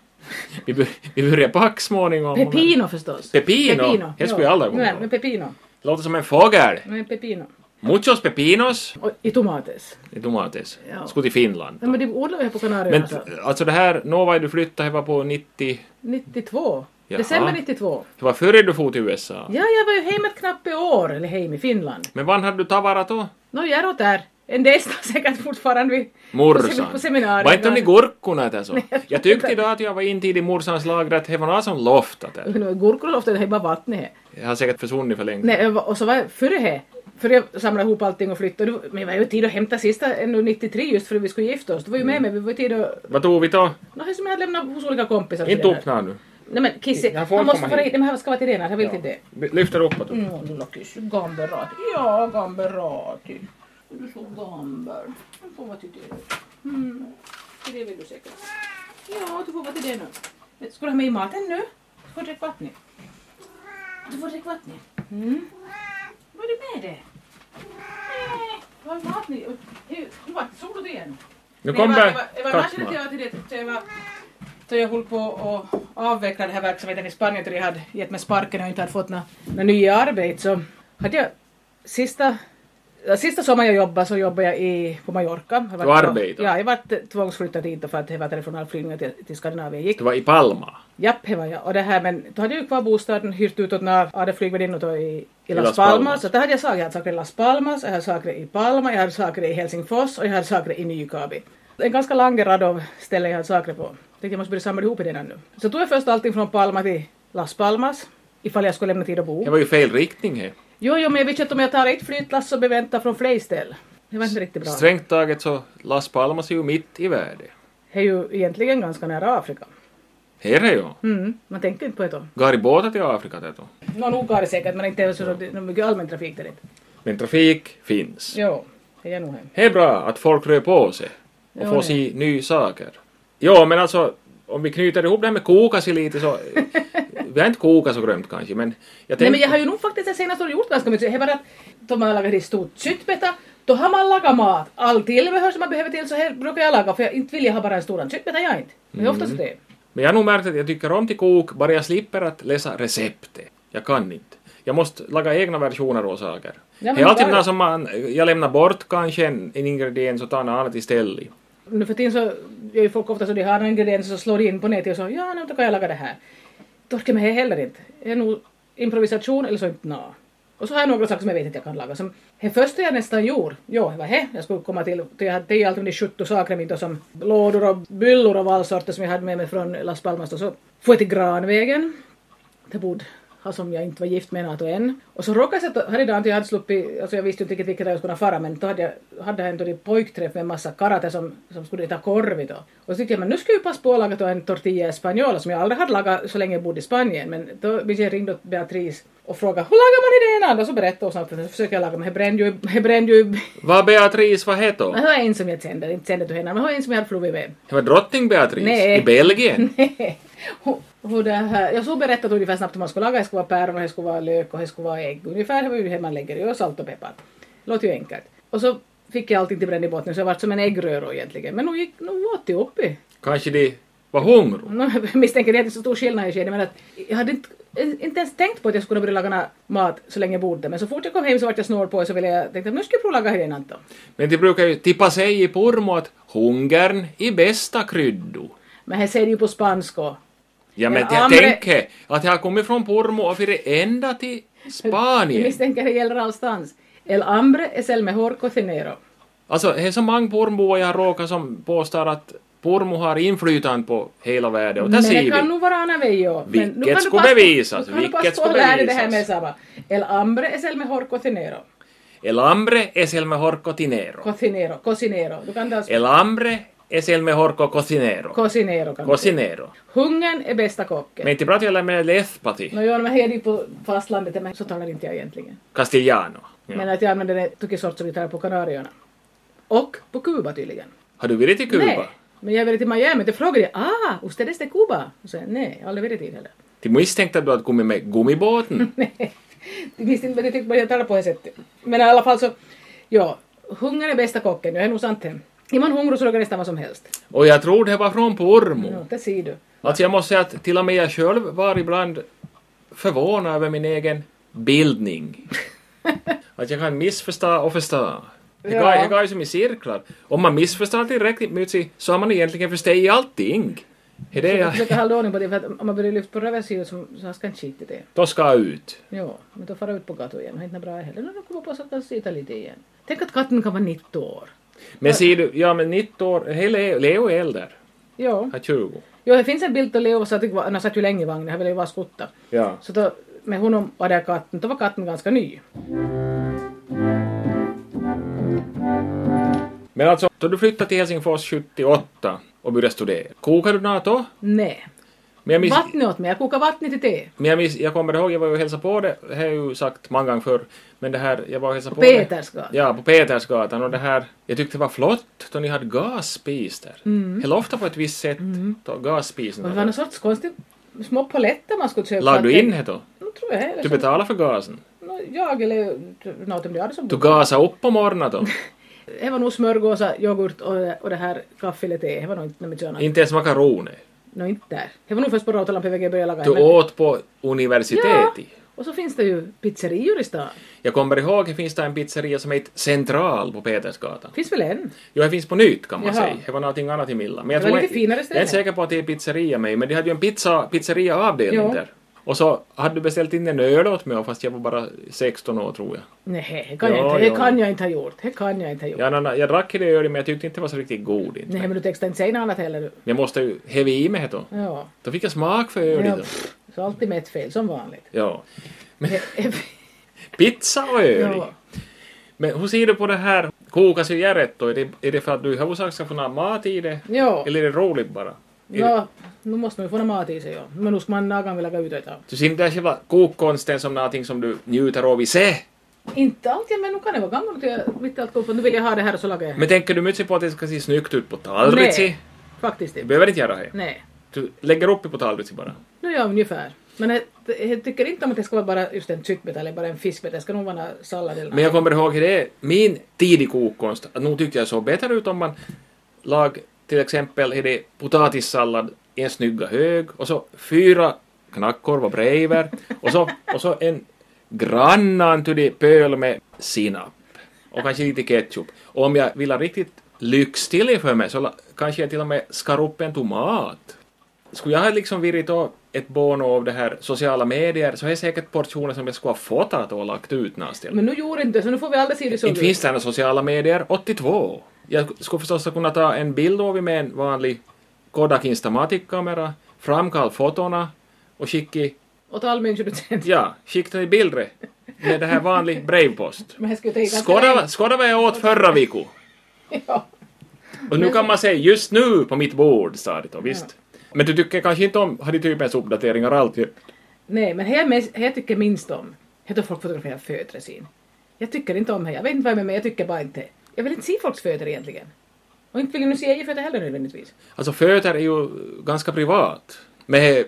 S1: Vi, bör, vi började packa småningom.
S2: Pepino förstås.
S1: Pepino? Det skulle
S2: ja.
S1: jag aldrig komma
S2: Nej,
S1: ihåg.
S2: men pepino.
S1: Låter som en fågel!
S2: Nej, pepino.
S1: Muchos pepinos
S2: Och i tomates.
S1: i tomates.
S2: Ja.
S1: Skulle till Finland.
S2: Ja, men de odlar ju här på Kanarieöarna.
S1: Men
S2: alltså.
S1: alltså det här, nå var du flyttade, det var på 90...
S2: 92.
S1: Jaha.
S2: December 92.
S1: Det var före du for till USA.
S2: Ja, jag var ju hemma ett knappt år, eller hem i Finland.
S1: Men vann hade du tavarat då?
S2: Nå, jag är där. En del står säkert fortfarande vid...
S1: Morsan.
S2: På seminariet.
S1: Var inte de i gurkorna eller så?
S2: jag
S1: Jag tyckte idag att jag var intill i morsans lager att det var något som loftat där.
S2: Nu är Gurkorloftet det är bara vattnet här.
S1: Jag har säkert försvunnit för länge.
S2: Nej, jag var- och så var jag före här. Före jag samlade ihop allting och flyttade. då- Men jag var ju i tid att hämta sista ännu 93 just för att vi skulle gifta oss. Du var ju
S1: Mm.
S2: med mig. Vi var i tid att...
S1: Vad tog vi då?
S2: Nå, det som jag hade lämnat hos olika kompisar. och
S1: Inte
S2: sådär.
S1: öppna nu.
S2: Nej men Kissi,
S1: Jag får
S2: man måste
S1: komma
S2: få
S1: hit.
S2: hit. Nej, men här ska vara till Renar. Jag vill till det.
S1: Lyfter upp åt
S2: Mm, du la kyss. Gamberati. Ja, gamberati. Du så gamber. Du får vara till det. Mm. Till det vill du säkert. Ja, du får vara till det nu. Ska du ha med i maten nu? Du får dricka vatten. Du får dricka vatten. Mm. Vad är det med det? Nej, du har ju mat nu. Du var inte sol och det nu.
S1: Nu
S2: Nej, jag var-
S1: kommer
S2: jag var- jag var matchen att
S1: Katma.
S2: jag var till det- till jag var- till jag höll på att avveckla den här verksamheten i Spanien till jag hade gett mig sparken och inte hade fått några nå nya arbete så hade jag sista ja, Sista sommaren jag jobbade så jobbade jag i, på Mallorca. Jag var-
S1: Du arbetade?
S2: Ja, jag var tvångsflyttad dit då för att det var telefonalflygningar till, till Skandinavien gick.
S1: Du var i Palma.
S2: Japp, det var jag. Och det här, men då hade jag ju kvar bostaden, hyrt ut åt några av de flygvärdinnor då i, i Las,
S1: Las
S2: Palmas.
S1: Palmas.
S2: Så det hade jag saker. Jag hade saker i Las Palmas, jag hade saker i Palma, jag hade saker i Helsingfors och jag hade saker i Nykabi. En ganska lång rad av ställen jag hade saker på. Tänkte jag måste börja samla ihop i den här nu. Så tog jag först allting från Palma till Las Palmas, ifall jag skulle lämna tid att bo.
S1: Jag var ju i fel riktning här.
S2: Jo, jo, men jag vet inte att om jag tar ett flyttlass så blir jag hämtad från fler ställen. Det var inte riktigt bra.
S1: Strängt taget så Las Palmas är ju mitt i världen.
S2: Det är ju egentligen ganska nära Afrika.
S1: Här är ju.
S2: Mm, man tänker inte på det då.
S1: Går i båtar till Afrika det då.
S2: Nå, nog har det säkert, men inte så det är mycket allmän trafik där inte.
S1: Men trafik finns.
S2: Jo, det är nog hem.
S1: Det är bra att folk rör på sig och
S2: Ja,
S1: får
S2: det.
S1: se nya saker. Ja, men alltså om vi knyter ihop det här med koka sig lite så... vi har inte kokat så grönt kanske, men jag
S2: Nej
S1: tänkte...
S2: men jag har ju nog faktiskt det senaste året gjort ganska mycket. Det var att då man har lagat ett stort kyttbeta, då har man lagat mat. Allt tillbehör som man behöver till så här brukar jag laga för jag inte vill jag ha bara en stor kyttbeta, jag inte. Men det är oftast det.
S1: Men jag har nog märkt att jag tycker om till kok bara jag slipper att läsa receptet. Jag kan inte. Jag måste laga egna versioner av saker.
S2: men
S1: det är alltid
S2: bara-
S1: något som man, jag lämnar bort kanske en, en ingrediens och tar något annat istället.
S2: Nu för tiden så gör ju folk ofta så de har en ingrediens och så slår de in på nätet och så ja nu då kan jag laga det här. Då orkar man heller inte. Det är nog improvisation eller så inte nå. Och så har jag några saker som jag vet att jag kan laga. Som, det första jag nästan gjorde, jo det var det jag skulle komma till. till Jag hade det är ju alltid de 70 sakerna mitt och som lådor och byllor av all sorter som jag hade med mig från Las Palmas. Då, så får jag till Granvägen det bodde han som jag inte var gift med nato än. Och så råkade jag sätta, här idag, jag hade sluppit, alltså jag visste ju inte riktigt vilket jag skulle fara men då hade jag, hade jag ändå en pojkträff med en massa karate som, som skulle ta korv då. Och så tyckte jag men nu ska jag ju passa på att laga då en tortilla española som jag aldrig hade lagat så länge jag bodde i Spanien men då minns jag ringde åt Beatrice och frågade hur lagar man i den andra? Så berättade hon snabbt att jag försöker laga men det brände ju, det brände ju,
S1: Vad Beatrice, vad hette hon?
S2: men hon är en som jag kände, inte kände du henne, men hon är en som jag hade flugit med.
S1: Det var drottning Beatrice
S2: Nej.
S1: i Belgien.
S2: Hon- hon det här- Jag såg berättat ungefär snabbt hur man skulle laga. Det skulle vara päron och det skulle vara lök och det skulle vara ägg. Ungefär hur det man lägger i och salt och peppar. Låter ju enkelt. Och så fick jag allting till bränd i botten så jag vart som en äggröra egentligen. Men nog gick, nog åt det upp i.
S1: Kanske de var hungriga.
S2: Nå, Jag misstänker det är inte så stor skillnad i skedet men att jag hade inte, inte ens tänkt på att jag skulle börja laga nå mat så länge jag bodde. Men så fort jag kom hem så vart jag snål på det så ville jag tänkte nu ska jag prova laga här igen då.
S1: Men de brukar ju tippa sig i pormo att hungern i bästa kryddo.
S2: Men här säger det ju på spanska.
S1: Ja men
S2: Men
S1: jag
S2: Amre-
S1: tänker att jag har kommit från pormo och för ända till
S2: Jag
S1: Spanien.
S2: misstänker det gäller allstans. El hambre es el mejor cocinero.
S1: Alltså, det är så många pormboar jag har råkat som påstår att pormo har inflytande på hela världen, och där
S2: Men det
S1: ser
S2: kan
S1: vi.
S2: nog vara Anna Veijo. Men
S1: Vilket
S2: nu kan du
S1: skulle
S2: passa-
S1: bevisas,
S2: Nu kan du
S1: vilket
S2: passa på att
S1: skulle
S2: lära dig det här med
S1: bevisas.
S2: samma. El hambre es el mejor cocinero.
S1: El hambre es el mejor cocinero.
S2: Cocinero, cocinero. Du kan dans...
S1: El hambre es el mejor co- cocinero.
S2: Cocinero kan du säga.
S1: Cocinero.
S2: Hungern är bästa kocken.
S1: Men inte pratar jag med läspati,
S2: Nå, ja, men här är det ju på fastlandet, men så talar inte jag egentligen.
S1: castellano. Ja.
S2: Men att jag använder det tycker sort som vi tar på Kanarieöarna. Och på Kuba tydligen.
S1: Har du varit i
S2: Nej.
S1: Kuba?
S2: Men jag ville till Miami, då frågade jag ah, ustedes de Cuba? Och så nej, jag har aldrig varit dit heller.
S1: De misstänkte du att kommit med gummibåten?
S2: Visst inte, men det tyckte man jag talar på det sättet. Men i alla fall så, ja, hungern är bästa kocken, det är nog sant det. Är man hungrig så lagar nästan vad som helst.
S1: Och jag tror det var från pormo.
S2: Ja, det ser du.
S1: Alltså jag måste säga att till och med jag själv var ibland förvånad över min egen bildning. Att jag kan missförstå och förstå. Det
S2: Ja.
S1: går, det går ju som i cirklar. Om man missförstår tillräckligt mycket så har man egentligen förstått allting. Det är det
S2: Jag
S1: jag...
S2: försöker hålla ordning på det, för att om man börjar lyfta på reversidan så, så han ska inte skita i det.
S1: Då ska jag ut.
S2: Jo, men då far jag ut på gatan igen. Det är inte bra heller. Nu kommer på sig att han sitter lite igen. Tänk att katten kan vara 90 år.
S1: Men ser du, ja men 19 år, hej, Leo Leo är äldre.
S2: Jo.
S1: Han är 20.
S2: jo, det finns en bild på Leo, så att det var- han har satt ju länge i vagnen, han ville ju vara skutta.
S1: Ja.
S2: Så då, med honom var där katten, då var katten ganska ny.
S1: Men alltså, då du flyttade till Helsingfors 78 och började studera, kokade du något då?
S2: Nej.
S1: Men jag, miss,
S2: Vattnet åt mig, jag kokar vattnet till te.
S1: men jag, miss, jag kommer ihåg, jag var ju och hälsade på det, det har jag ju sagt många gånger förr, men det här, jag var och hälsade på, det-
S2: Petersgatan.
S1: Ja, på Petersgatan och det här, jag tyckte det var flott då ni hade gasspis där. Mm. Hela ofta på ett visst sätt, då gasspisen.
S2: Och Det var någon sorts konstigt små paletter man skulle köpa.
S1: Lade du in typ det då?
S2: Nu tror jag eller
S1: Du
S2: så-
S1: betalade för gasen?
S2: nå, Jag eller något om det hade som
S1: Du gasade upp på morgonen då?
S2: Det var nog smörgåsar, yoghurt och, och det här kaffe eller te. Det var nog inte något mycket annat.
S1: Inte ens makaroner?
S2: Nå, inte där. Det var nog först på Rautalampi VG började laga.
S1: Du
S2: men-
S1: åt på universitetet?
S2: Och så finns det ju pizzerior i stan.
S1: Jag kommer ihåg, det finns där en pizzeria som heter Central på Petersgatan.
S2: Finns väl en?
S1: Jo, det finns på nytt kan man
S2: Jaha.
S1: säga. Det var någonting annat i Milla. Men
S2: Det var lite finare
S1: jag är
S2: ställe.
S1: inte säker på att det är pizzeria mig, men de hade ju en pizza, pizzeriaavdelning
S2: Ja.
S1: där. Och så hade du beställt in en öl åt mig fast jag var bara 16 år tror jag.
S2: Nej, det kan,
S1: Ja,
S2: jag inte.
S1: ja.
S2: Det kan jag inte ha gjort. Det kan jag inte ha gjort.
S1: Jag, annan- jag drack i det ölet men jag tyckte inte det var så riktigt god inte.
S2: Nej, men du textar inte säga något annat heller. du.
S1: Men Jag måste ju häva i mig det då.
S2: Ja.
S1: Då fick jag smak för öl
S2: ja
S1: då.
S2: pff, så alltid med ett fel, som vanligt.
S1: Ja.
S2: Det-
S1: Pizza och öl.
S2: ja.
S1: Men hur ser du på det här? Kokas ju järret då? Är det, är det för att du i huvudsak ska få någon mat i det?
S2: ja.
S1: Eller är det roligt bara? Är det-
S2: ja. Nu måste man ju få någon mat i sig. Ja. Men nu ska man någon gång vilja gå ut och äta.
S1: Du ser inte själva kokkonsten som någonting som du njuter av i sig?
S2: Inte alltid, men nu kan det vara gammalt. att Jag mitt i allt går på. Nu vill jag ha det här och så lagar jag.
S1: Men tänker du mycket på att det ska se snyggt ut på tallriken?
S2: Nej. Faktiskt
S1: Du
S2: inte.
S1: behöver inte göra det.
S2: Nej.
S1: Du lägger upp det på tallriken bara.
S2: Nu ja, ungefär. Men jag, jag tycker inte om att det ska vara bara just en tyttbit eller bara en fiskbit. Det ska nog vara någon sallad eller något.
S1: Men jag kommer ihåg det, min tidig kokkonst, att nog tyckte jag såg bättre ut om man lag till exempel är det potatissallad i en snygga hög och så fyra knackkorvar bredvid och så, och så en grannan till det pöl med sinap och kanske lite ketchup. Och om jag vill ha riktigt lyx till det för mig så la- kanske jag till och med skar upp en tomat. Skulle jag ha liksom virit av ett bono av det här sociala medier så är det säkert portioner som jag skulle ha fotat och lagt ut någonstans.
S2: Men nu gjorde inte det, så nu får vi aldrig se hur det såg
S1: Inte
S2: ut.
S1: finns det här några sociala medier 82. Jag skulle förstås kunna ta en bild av det med en vanlig Kodak Instamatic-kamera, framkalla fotona och skicka,
S2: Åt all människa du tänkte.
S1: ja, skicka den i bilder med det här vanlig brevpost.
S2: Men här ska ju ta i ganska
S1: Skåda
S2: länge.
S1: skåda vad jag åt förra veckan.
S2: Ja.
S1: Och nu kan man säga just nu på mitt bord, sa det då, visst. Men du tycker kanske inte om Haditypens uppdateringar alltid?
S2: Nej, men här, mest, här tycker jag minst om. Här då folk fotograferar födre sin. Jag tycker inte om det. Jag vet inte vad jag menar, men jag tycker bara inte. Jag vill inte se folks fötter egentligen. Och inte vill jag nu se egna fötter heller nödvändigtvis.
S1: Alltså fötter är ju ganska privat. Med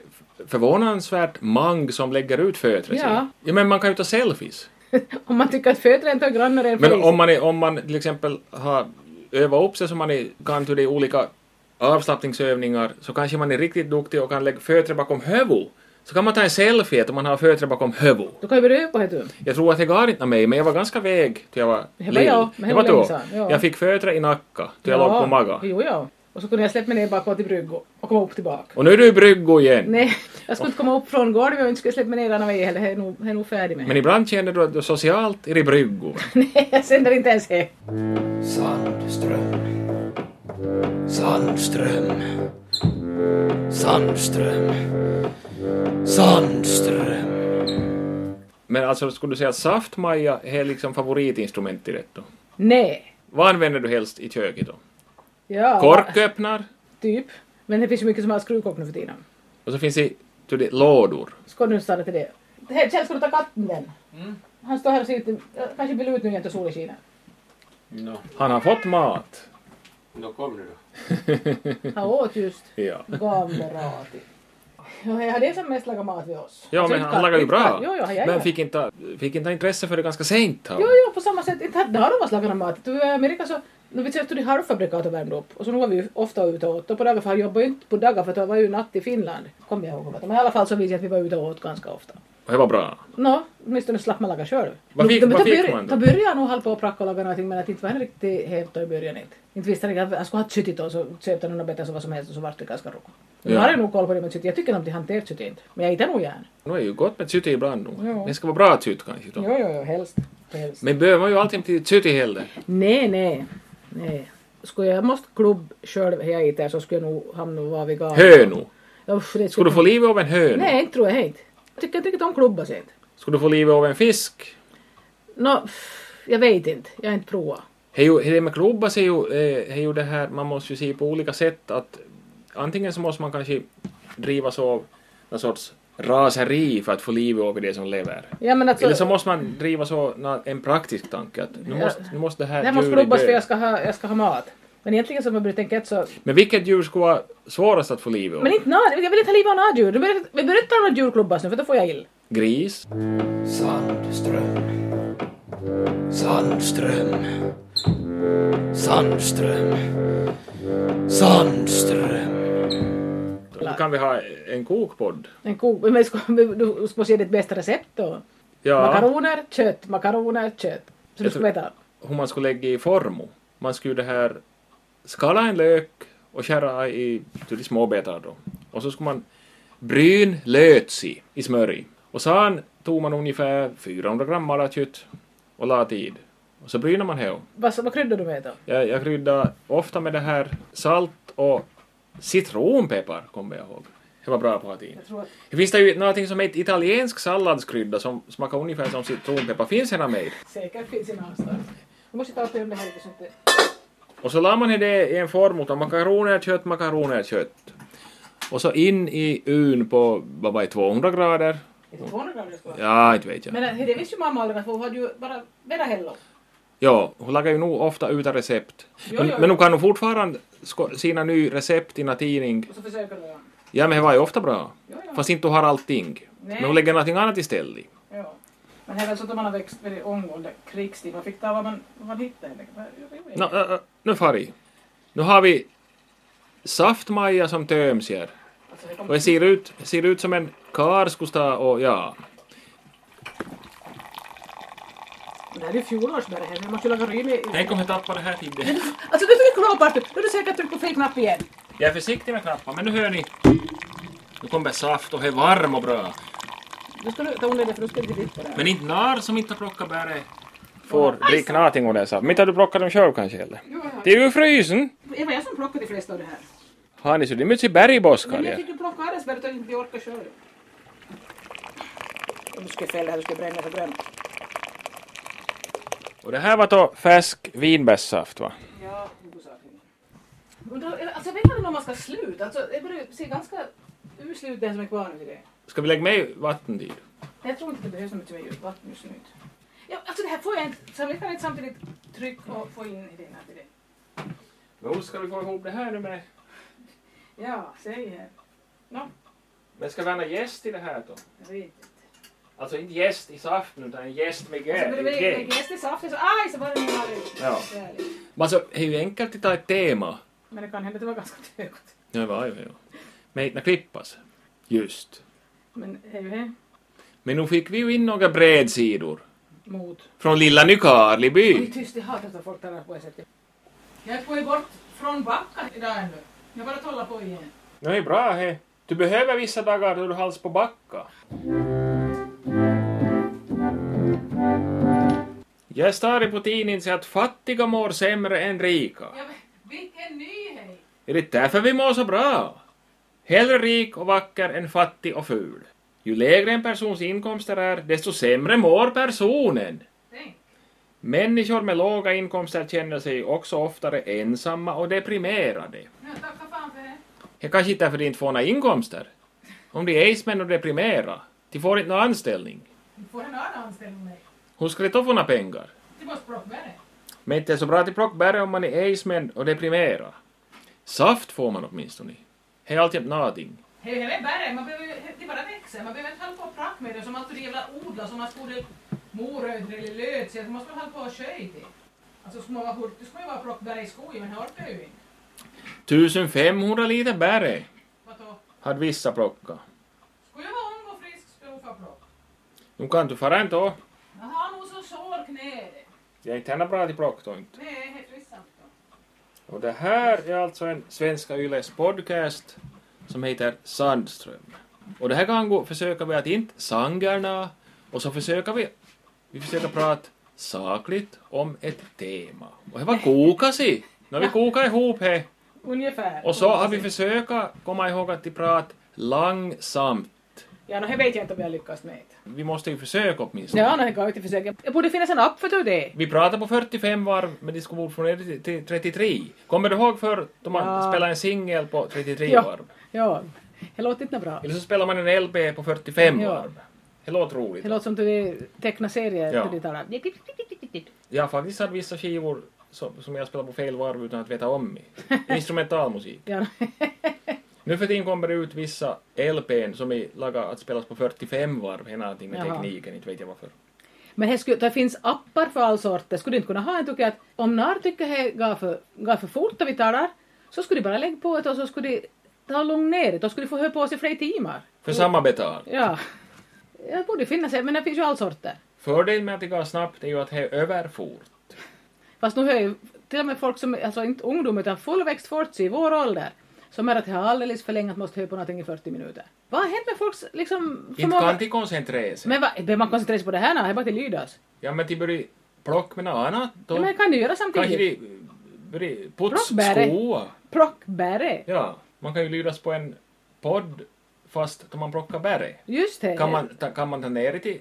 S1: förvånansvärt mang som lägger ut fötter.
S2: Ja.
S1: ja. Men man kan ju ta selfies.
S2: om man tycker att fötter inte har grannar än
S1: Men
S2: polis.
S1: om man, är, om man till exempel har övat upp sig så man är, kan till de olika avslappningsövningar så kanske man är riktigt duktig och kan lägga fötter bakom huvudet. Så kan man ta en selfie om man har fötter bakom huvudet.
S2: Då kan vi röra på det du.
S1: Jag tror att det går inte med mig, men jag var ganska väg till jag var
S2: Det var
S1: lill.
S2: jag, men
S1: jag
S2: det
S1: var
S2: var länge
S1: då.
S2: sedan, ja.
S1: Jag fick fötter i nacka, till jag låg på magen.
S2: Jo, ja. Och så kunde jag släppa mig ner bakåt i bryggo och komma upp tillbaka.
S1: Och nu är du i bryggo igen.
S2: Nej, jag skulle inte komma upp från golvet och inte skulle släppa mig ner denna vägen heller. Det är nog- det är nog färdig med.
S1: Men ibland känner du att du socialt är i bryggo.
S2: Nej, jag sänder inte ens det.
S4: Sandström. Sandström. Sandström. Sandström.
S1: Men alltså, skulle du säga att saftmaja är liksom favoritinstrument i det då?
S2: Nej.
S1: Vad använder du helst i köket då?
S2: Ja,
S1: Korköppnar?
S2: typ. Men det finns ju mycket som har skruvkock nu för tiden.
S1: Och så finns det du, det, lådor.
S2: Ska du stanna till det? Hej, Kjell, ska du ta katten den?
S1: Mm.
S2: Han står här och ser ut. jag Kanske vill ut nu igen till solen skiner.
S4: Nå,
S1: Han har fått mat.
S4: no, kom nu då.
S2: Han åt just
S1: Mm. Ja.
S2: gamla rati. Ja, jag hade som mest lagat mat vid oss.
S1: Ja,
S2: Så
S1: men
S2: inte
S1: han
S2: katt-
S1: lagar ju
S2: inte
S1: bra.
S2: katt. Jo, jo, han gör
S1: Men
S2: det.
S1: fick inte, fick inte intresse för det ganska sent. han.
S2: Jo, jo, på samma sätt. Inte hade- har de oss lagat någon mat. Du, I Amerika så, när vi köpte de halvfabrikat och värmde upp. Och så nu var vi ju ofta ute och åt. Och på dagar, för han jobbade ju inte på dagar för att jag var ju natt i Finland. Kommer jag ihåg. vad det var. Men i alla fall så visste jag att vi var ute och åt ganska ofta.
S1: Och det var bra.
S2: Nå, åtminstone slapp man laga själv.
S1: Vad fick-
S2: Men
S1: vad
S2: ta
S1: fick
S2: börj-
S1: man då?
S2: Ta början och hålla på och pracka och laga någonting men att inte var han riktigt helt i början inte. Inte visste jag att jag skulle ha suttit och så köpte jag något bättre så vad som helst och så vart det ganska roligt. Nu
S1: Ja.
S2: har jag nog koll på det med sytt. Jag tycker att de hanterar sytt inte. Men jag äter nog gärna.
S1: Nu är ju gott med sytt ibland nog.
S2: Ja.
S1: Det ska vara bra sytt kanske då.
S2: Jo, jo, jo, helst. helst.
S1: Men behöver man ju alltid till sytt i heller.
S2: Nej, nej, nej. Skulle jag måste klubb själv här jag äter så skulle jag nog hamna och vara vegan.
S1: Hönu.
S2: Ja, usch, det
S1: Skulle du få livet av en höna?
S2: Nej, inte tror jag inte. Jag tycker jag tycker inte om klubba sent.
S1: Skulle du få livet av en fisk?
S2: Nå, pff, jag vet inte. Jag har inte provat.
S1: Det är ju- det med klubba är ju, eh, det är ju det här, man måste ju se på olika sätt att antingen så måste man kanske drivas av någon sorts raseri för att få livet av det som lever.
S2: Ja, men alltså,
S1: Eller så måste man driva så na- en praktisk tanke att nu
S2: Ja.
S1: måste, nu måste det här
S2: det här måste
S1: djuret
S2: klubbas
S1: dö.
S2: för jag ska, ha, jag ska ha mat. Men egentligen som jag började tänka ett så...
S1: Men vilket djur skulle vara svårast att få livet av?
S2: Men inte nå, jag vill inte ha liv av några djur. Du börjar- Vi börjar inte ta några djurklubbas nu för då får jag ill.
S1: Gris?
S4: Sandström. Sandström. Sandström. Sandström.
S1: Då kan vi ha en kokpodd.
S2: En ko... Men ska, men du ska se ditt bästa recept då.
S1: Ja,
S2: Makaroner, kött, makaroner, kött. Så du
S1: Jag
S2: ska
S1: tror-
S2: veta.
S1: hur man skulle lägga i formo. Man skulle det här skala en lök och skära i till de små bitar då. Och så skulle man bryn lötsi i smör Och sen tog man ungefär 400 gram malakött och la tid. Och så brynar man det.
S2: Vad, vad kryddar du med då?
S1: Jag, jag kryddar ofta med det här salt och citronpeppar, kommer jag ihåg. Det var bra på latin.
S2: Jag tror att...
S1: Det finns det ju någonting som heter italiensk salladskrydda som smakar ungefär som citronpeppar. Finns det någon med?
S2: Säkert finns i någonstans. Jag måste ta upp det om det här lite så inte...
S1: Och så la man i det i en form av makaroner, kött, makaroner, kött. Och så in i un på, vad var det, 200 grader?
S2: Är det 200 grader det ska vara?
S1: Ja, inte vet jag.
S2: Men äh, det visste ju mamma aldrig att hon hade ju bara värre hello.
S1: Ja, hon lagar ju nog ofta utan recept.
S2: Jo,
S1: Men,
S2: jo,
S1: men
S2: jo.
S1: hon kan nog fortfarande sko- sina nya recept i någon tidning.
S2: Och så försöker du. ja.
S1: Ja, men det var ju ofta bra.
S2: Jo, jo.
S1: Fast inte hon har allting.
S2: Nej.
S1: Men hon lägger någonting annat istället.
S2: Ja. Men det är väl så att man har växt väldigt omgående krigstid. Man fick ta vad man, vad man hittade. helt enkelt. Vad- vad gjorde
S1: Nå,
S2: jag?
S1: äh, äh, nu far vi. Nu har vi saftmaja som töms här.
S2: Alltså, det kom-
S1: Och det ser ut, ser ut som en karl skulle stå och ja.
S2: Men Det här är ju fjolårsbäret här. Vi måste ju laga rym i...
S1: Tänk om jag tappar det här tiden.
S2: Alltså nu fick jag klå bort det. Nu är du säkert tryckt på fel knapp igen.
S1: Jag är försiktig med knappen, men nu hör ni. Nu kommer saft och det är varm och bra.
S2: Du ska nu ta undan det för du ska inte titta där.
S1: Men inte när som inte har plockat bäret får dricka någonting av det saft. Men inte har du plockat dem själv kanske heller?
S2: Jo, ja.
S1: Det är ju frysen!
S2: Det var jag som plockade de flesta av det här.
S1: Har ni så det är mycket bergboskar
S2: Men jag
S1: här?
S2: fick ju plocka Aresberget och inte orka själv. Om du skulle fälla här, du skulle bränna, så bränn.
S1: Och det här var då färsk vinbärssaft va?
S2: Ja, huvudsakligen. Men då- Alltså jag vet inte om man ska sluta. Alltså, det börjar se ganska usel ut den som är kvar nu till det.
S1: Ska vi lägga med vatten till?
S2: Jag tror inte det behövs så mycket mer vatten just nu. Ja, alltså det här får jag inte. Så jag kan inte samtidigt trycka och få in idéerna till det.
S1: Men hur ska vi få ihop det här nu med...
S2: Ja, säg här. Nå,
S1: Men ska vi ha någon gäst i det här då?
S2: jag vet inte.
S1: Alltså inte gäst i saften utan en gäst Alltså, med
S2: Så blir det väl
S1: gäst.
S2: gäst i saften så aj så var det mina ut.
S1: Ja.
S2: Härligt.
S1: Men alltså, det är ju enkelt att ta ett tema.
S2: Men det kan hända att det var ganska trögt.
S1: Ja, det var ju det. Men inte klippas. Just.
S2: Men det är ju det.
S1: Men nu fick vi ju in några bredsidor.
S2: Mot.
S1: Från lilla Nykarleby.
S2: Oj, tyst, jag hatar att folk talar på det sättet. Jag går ju bort från Backa idag ännu. Jag bara talar på igen.
S1: Det är bra he. Du behöver vissa dagar då du hals på backa. Jag står på tidningen så att fattiga mår sämre än rika.
S2: Ja, men vilken nyhet!
S1: Är det därför vi mår så bra? Hellre rik och vacker än fattig och ful. Ju lägre en persons inkomster är, desto sämre mår personen.
S2: Tänk.
S1: Människor med låga inkomster känner sig också oftare ensamma och deprimerade.
S2: Nu tacka fan för det.
S1: Det kanske inte är för att de inte får några inkomster. Om de är aidsmän och deprimerade, de får inte någon anställning.
S2: Du får en annan anställning med.
S1: Hur ska de då få några pengar?
S2: Du måste plocka med det.
S1: Men inte är så bra till plockbärare om man är aidsmän och deprimerad. Saft får man åtminstone. Det är alltid någonting.
S2: Hej, hej, med bären. Man behöver, ju- det bara växer. Man behöver inte hålla på och pracka med det som alltid jävla odlar som man skulle morötter eller lötsiga. Så måste man hålla på och köja till. Alltså små hurtor ska ju vara plocka bär i skogen, men det orkar ju inte.
S1: 1500 liter bär
S2: Vadå?
S1: hade vissa plockat.
S2: Skulle jag vara ung och frisk skulle jag nog få plocka.
S1: Nu kan du fara ändå.
S2: Jag har nog så sår knä.
S1: Jag är inte henne bra till plock då inte.
S2: Det är helt visst.
S1: Och det här är alltså en Svenska Yles podcast som heter Sandström. Och det här kan gå, försöka vi att inte sangerna och så försöker vi, vi försöker prata sakligt om ett tema. Och det var kokasi! När vi kokar ihop det
S2: Ungefär.
S1: och så har vi försökt komma ihåg att vi pratar långsamt.
S2: Ja, no, det vet jag inte om jag lyckas med.
S1: Vi måste ju försöka åtminstone.
S2: Ja, no, det går inte försöka. Det borde finnas en app för det.
S1: Vi pratade på 45 varv, men de skulle motionera till- till 33. Kommer du ihåg förr då man
S2: Ja.
S1: spelade en singel på 33
S2: Ja.
S1: varv?
S2: Ja. Det låter inte bra.
S1: Eller så spelar man en LP på 45
S2: Ja.
S1: varv. Det låter roligt.
S2: Det låter som du tecknar serier.
S1: Ja.
S2: Ja. Du talar.
S1: Jag har faktiskt hade vissa skivor som, som jag spelar på fel varv utan att veta om det. Instrumentalmusik.
S2: Ja.
S1: Nu för tiden kommer det ut vissa LPn som är lagade att spelas på 45 varv. Det är någonting med
S2: Jaha.
S1: tekniken, inte vet jag varför.
S2: Men det, skulle, det finns appar för all sorter. Skulle du inte kunna ha en tycker jag att om när tycker det går för, går för fort när vi talar så skulle de bara lägga på det och så skulle de ta långt ner det. Då skulle de få höra på sig flera timmar.
S1: För samma betal.
S2: Ja. Det borde finnas det, men det finns ju all sorter.
S1: Fördelen med att det går snabbt är ju att det är överfort.
S2: Fast nu hör ju till och med folk som, alltså inte ungdom utan fullväxt 40 i vår ålder som är att det har alldeles för länge att måste höra på någonting i 40 minuter. Vad har hänt med folks liksom
S1: Inte kan de koncentrera sig.
S2: Men vad, behöver man koncentrera sig på det här? Nej, det är bara till lydas.
S1: Ja men de börjar plocka med något annat. Då
S2: Ja, men det kan du göra
S1: kanske
S2: samtidigt.
S1: de börjar putsa
S2: Plockbäre.
S1: skoa.
S2: Plockbäre.
S1: Ja, man kan ju lydas på en podd fast då man plockar bäre.
S2: Just det.
S1: Kan man, ta, kan man ta ner det till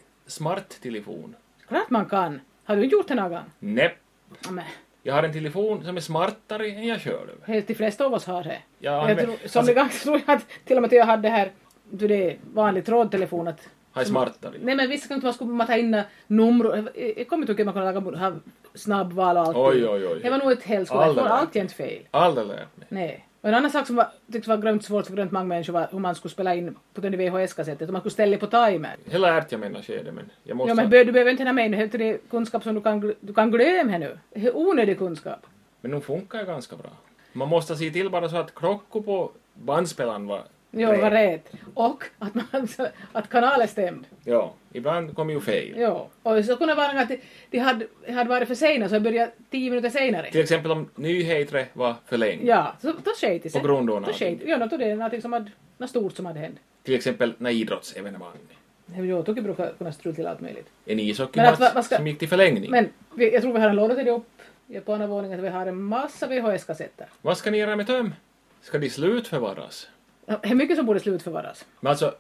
S1: smart-telefon?
S2: Klart man kan. Har du inte gjort det någon gång?
S1: Nej.
S2: Ja, men,
S1: Jag har en telefon som är smartare än jag själv.
S2: helt de flesta av oss har det.
S1: Jag
S2: Jag
S1: använder,
S2: tror, som det ganska tror jag att till och med att jag hade det här, du det är vanlig trådtelefon att
S1: har smartare.
S2: Nej men vissa kan inte man skulle man ta in nummer. Jag kommer inte ihåg hur man kunde laga ha snabbval och allt.
S1: Oj, oj, oj.
S2: Det var nog ett helskola.
S1: Aldrig
S2: Det var
S1: lärt
S2: alltjämt fel.
S1: Aldrig lärt mig.
S2: Nej. Och en annan sak som var, tyckte var grönt svårt för grönt många människor var hur man skulle spela in på den VHS-kassetten. Hur man skulle ställa på timern.
S1: Det lärde jag mig när skedet men jag måste...
S2: Ja, men bör- du behöver inte hinna med nu. Helt det är kunskap som du kan, gl- du kan glömma här nu. Det är Onödig kunskap.
S1: men de funkar ju ganska bra. Man måste se till bara så att klockor på bandspelaren var
S2: Jo, var rätt. Och att, man, att kanalen stämde.
S1: Ja, ibland kom ju fel.
S2: Jo. Och så kunde det vara att de, de hade, hade varit för sena så började tio minuter senare.
S1: Till exempel om nyheter var för länge.
S2: Ja, så, då sket det sig.
S1: På grund av
S2: Då sket
S1: någonting.
S2: Ja, då tog det någonting som hade, något stort som hade hänt.
S1: Till exempel när idrottsevenemang.
S2: Jag tycker jag brukar kunna strula till allt möjligt.
S1: En
S2: Men att va- vad
S1: ishockeymatch
S2: ska-
S1: som gick till förlängning.
S2: Men vi, jag tror vi har en låda till det upp i- på andra våningen, att vi har en massa VHS-kassetter.
S1: Vad ska ni göra med dem? Ska de slutförvaras?
S2: Ja, Det är mycket som borde slutförvaras.
S1: Men alltså,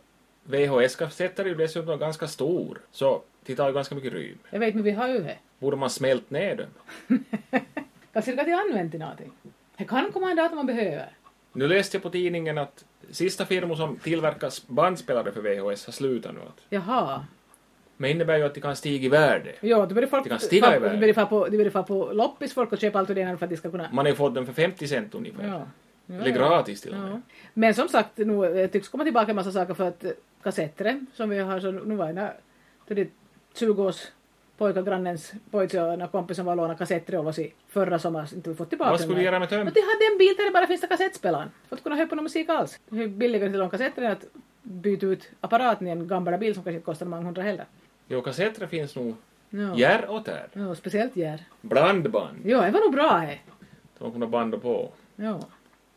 S1: VHS-kassetter är ju dessutom ganska stor, så det tar ju ganska mycket rym.
S2: Jag vet, men vi har ju det.
S1: Borde man smält ner dem?
S2: Kanske det kan till använt till någonting. Det kan komma en dag att man behöver.
S1: Nu läste jag på tidningen att sista firmor som tillverkar bandspelare för VHS har slutat nu. att-
S2: Jaha.
S1: Men det innebär ju att de kan stiga i värde.
S2: Ja, då börjar folk...
S1: Det kan stiga
S2: fa-
S1: iväg.
S2: Det börjar fa på, det börjar fa på loppis folk och köpa allt och det ena för att de ska kunna...
S1: Man har ju fått dem för 50 cent ungefär.
S2: Ja.
S1: Eller gratis till och med.
S2: Men som sagt, nu eh, tycks komma tillbaka en massa saker för att eh, kassetter som vi har så nu var ena till det 20 års pojke och grannens pojke och en kompis som var och lånade kassetter och oss i förra sommaren inte vi fått tillbaka
S1: Vad skulle
S2: dem.
S1: du göra med dem?
S2: Men de hade en bil där det bara finns det kassettspelaren. För att kunna höra på någon musik alls. Det är billigare att låna kassetter än att byta ut apparaten i en gammal bil som kanske inte kostar många hundra heller.
S1: Jo, kassetter finns nog
S2: Ja.
S1: järr och tär.
S2: ja speciellt Gär.
S1: Blandband.
S2: Ja, det var nog bra eh. det.
S1: De kunde banda på.
S2: Ja.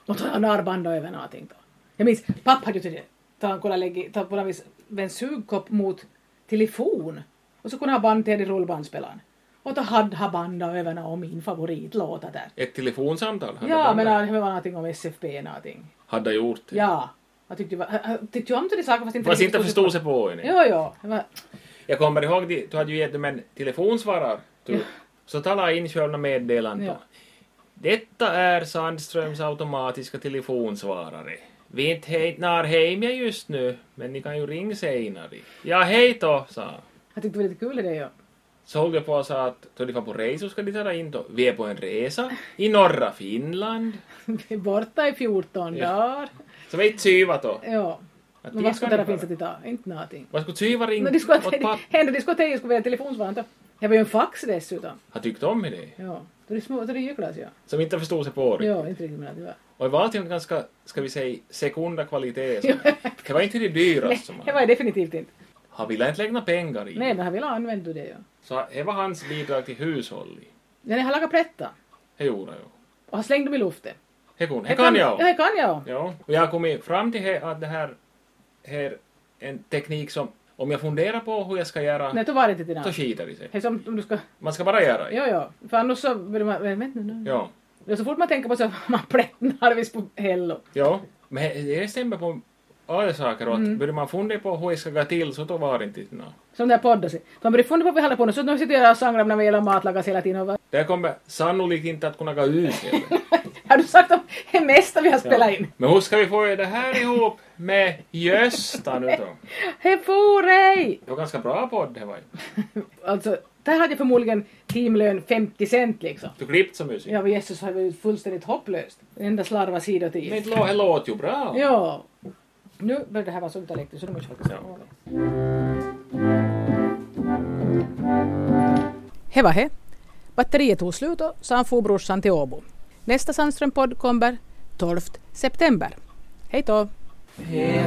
S2: Och ta narrband över någonting då. Jag minns, pappa hade ju till det. Ta han kunde lägga, ta på något vis en sugkopp mot telefon. Och så kunde han band till den i rullbandspelaren. Och då hade han bandat över någon av min favoritlåt där.
S1: Ett telefonsamtal? hade
S2: Ja,
S1: bandat.
S2: men han- det var någonting om SFP någonting.
S1: Hade gjort det.
S2: Ja. Jag tyckte, va- han tyckte ju om till de saker fast inte...
S1: Fast
S2: riktigt
S1: inte förstod sig på en.
S2: Jo, jo. Det var-
S1: Jag kommer ihåg, det, du hade ju gett dem en telefonsvarare. Du, så talade jag in själva meddelandet.
S2: Ja.
S1: Detta är Sandströms automatiska telefonsvarare. Vi är inte hej, när hemma just nu, men ni kan ju ringa senare. Ja, hej då, sa han.
S2: Jag tyckte det var lite kul det ja.
S1: Så höll jag på och sa att då de var på resa ska de tala in då. Vi är på en resa i norra Finland.
S2: Borta i 14
S1: Ja.
S2: dagar.
S1: Så vi syvat då.
S2: Ja.
S1: Att
S2: Men
S1: dit
S2: vad skulle
S1: kan
S2: det
S1: ni
S2: finnas att
S1: fara.
S2: idag? Inte någonting.
S1: Vad skulle syva
S2: No,
S1: ringa
S2: de skulle,
S1: åt pappa?
S2: hände det skulle att jag skulle vilja telefonsvarande. Jag var ju en fax dessutom.
S1: Han tyckte om det.
S2: Ja. Då är det små, då är det gycklas ja.
S1: Som inte förstod sig på det.
S2: Ja, inte riktigt men det var.
S1: Och det var alltid en ganska, ska vi säga, sekunda kvalitet. som- Det var inte det dyraste. som
S2: Det
S1: man-
S2: var jag definitivt inte.
S1: Han ville inte lägga pengar i.
S2: Nej, men han ville använda det ju.
S1: Så det var hans bidrag till hushållet.
S2: Ja, nej, han lagade plättar.
S1: Det gjorde jag.
S2: Och han slängde dem i luften.
S1: Det kunde, det kan jag.
S2: Ja, det kan jag.
S1: Ja, och jag har kommit fram till he- att det här är en teknik som, om jag funderar på hur jag ska göra,
S2: Nej, då var det inte dina.
S1: så skiter det sig.
S2: Det är som om du ska...
S1: Man ska bara göra det.
S2: Ja, ja. För annars så... vill man- Vänta nu.
S1: Ja,
S2: Ja, så fort man tänker på så har man plätten harvis på hello.
S1: ja. men he- det stämmer på alla saker, och att börjar man fundera på hur jag ska gå till så då var det inte nå.
S2: Som den här podden. Så Man börjar fundera på vad vi håller på med. Så nu sitter jag och sanglar när vi gäller matlagas hela tiden. Och vad...
S1: Det här kommer sannolikt inte att kunna gå ut heller.
S2: Har du sagt om det mesta vi har spelat in?
S1: Men hur ska vi få det här ihop med Gösta nu då?
S2: Hej for dig!
S1: Det var ganska bra podd det var ju.
S2: Alltså, där hade jag förmodligen timlön 50 cent liksom.
S1: Du klippte så mycket.
S2: Ja, men Jesus har ju fullständigt hopplöst. Den enda slarva sida till.
S1: Men det lå- det låter ju bra.
S2: Ja. Nu börjar det här vara så dialektiskt så nu måste jag faktiskt
S1: Ja.
S5: He var he. Batteriet tog slut och så han for brorsan till Åbo. Nästa Sandström-podd kommer 12 september. Hej då!
S4: Peter,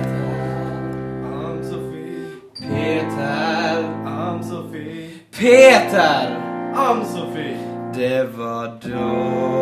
S3: I'm Sophie,
S4: Peter,
S3: I'm Sophie,
S4: Peter!
S3: I'm Sophie.
S4: Det var då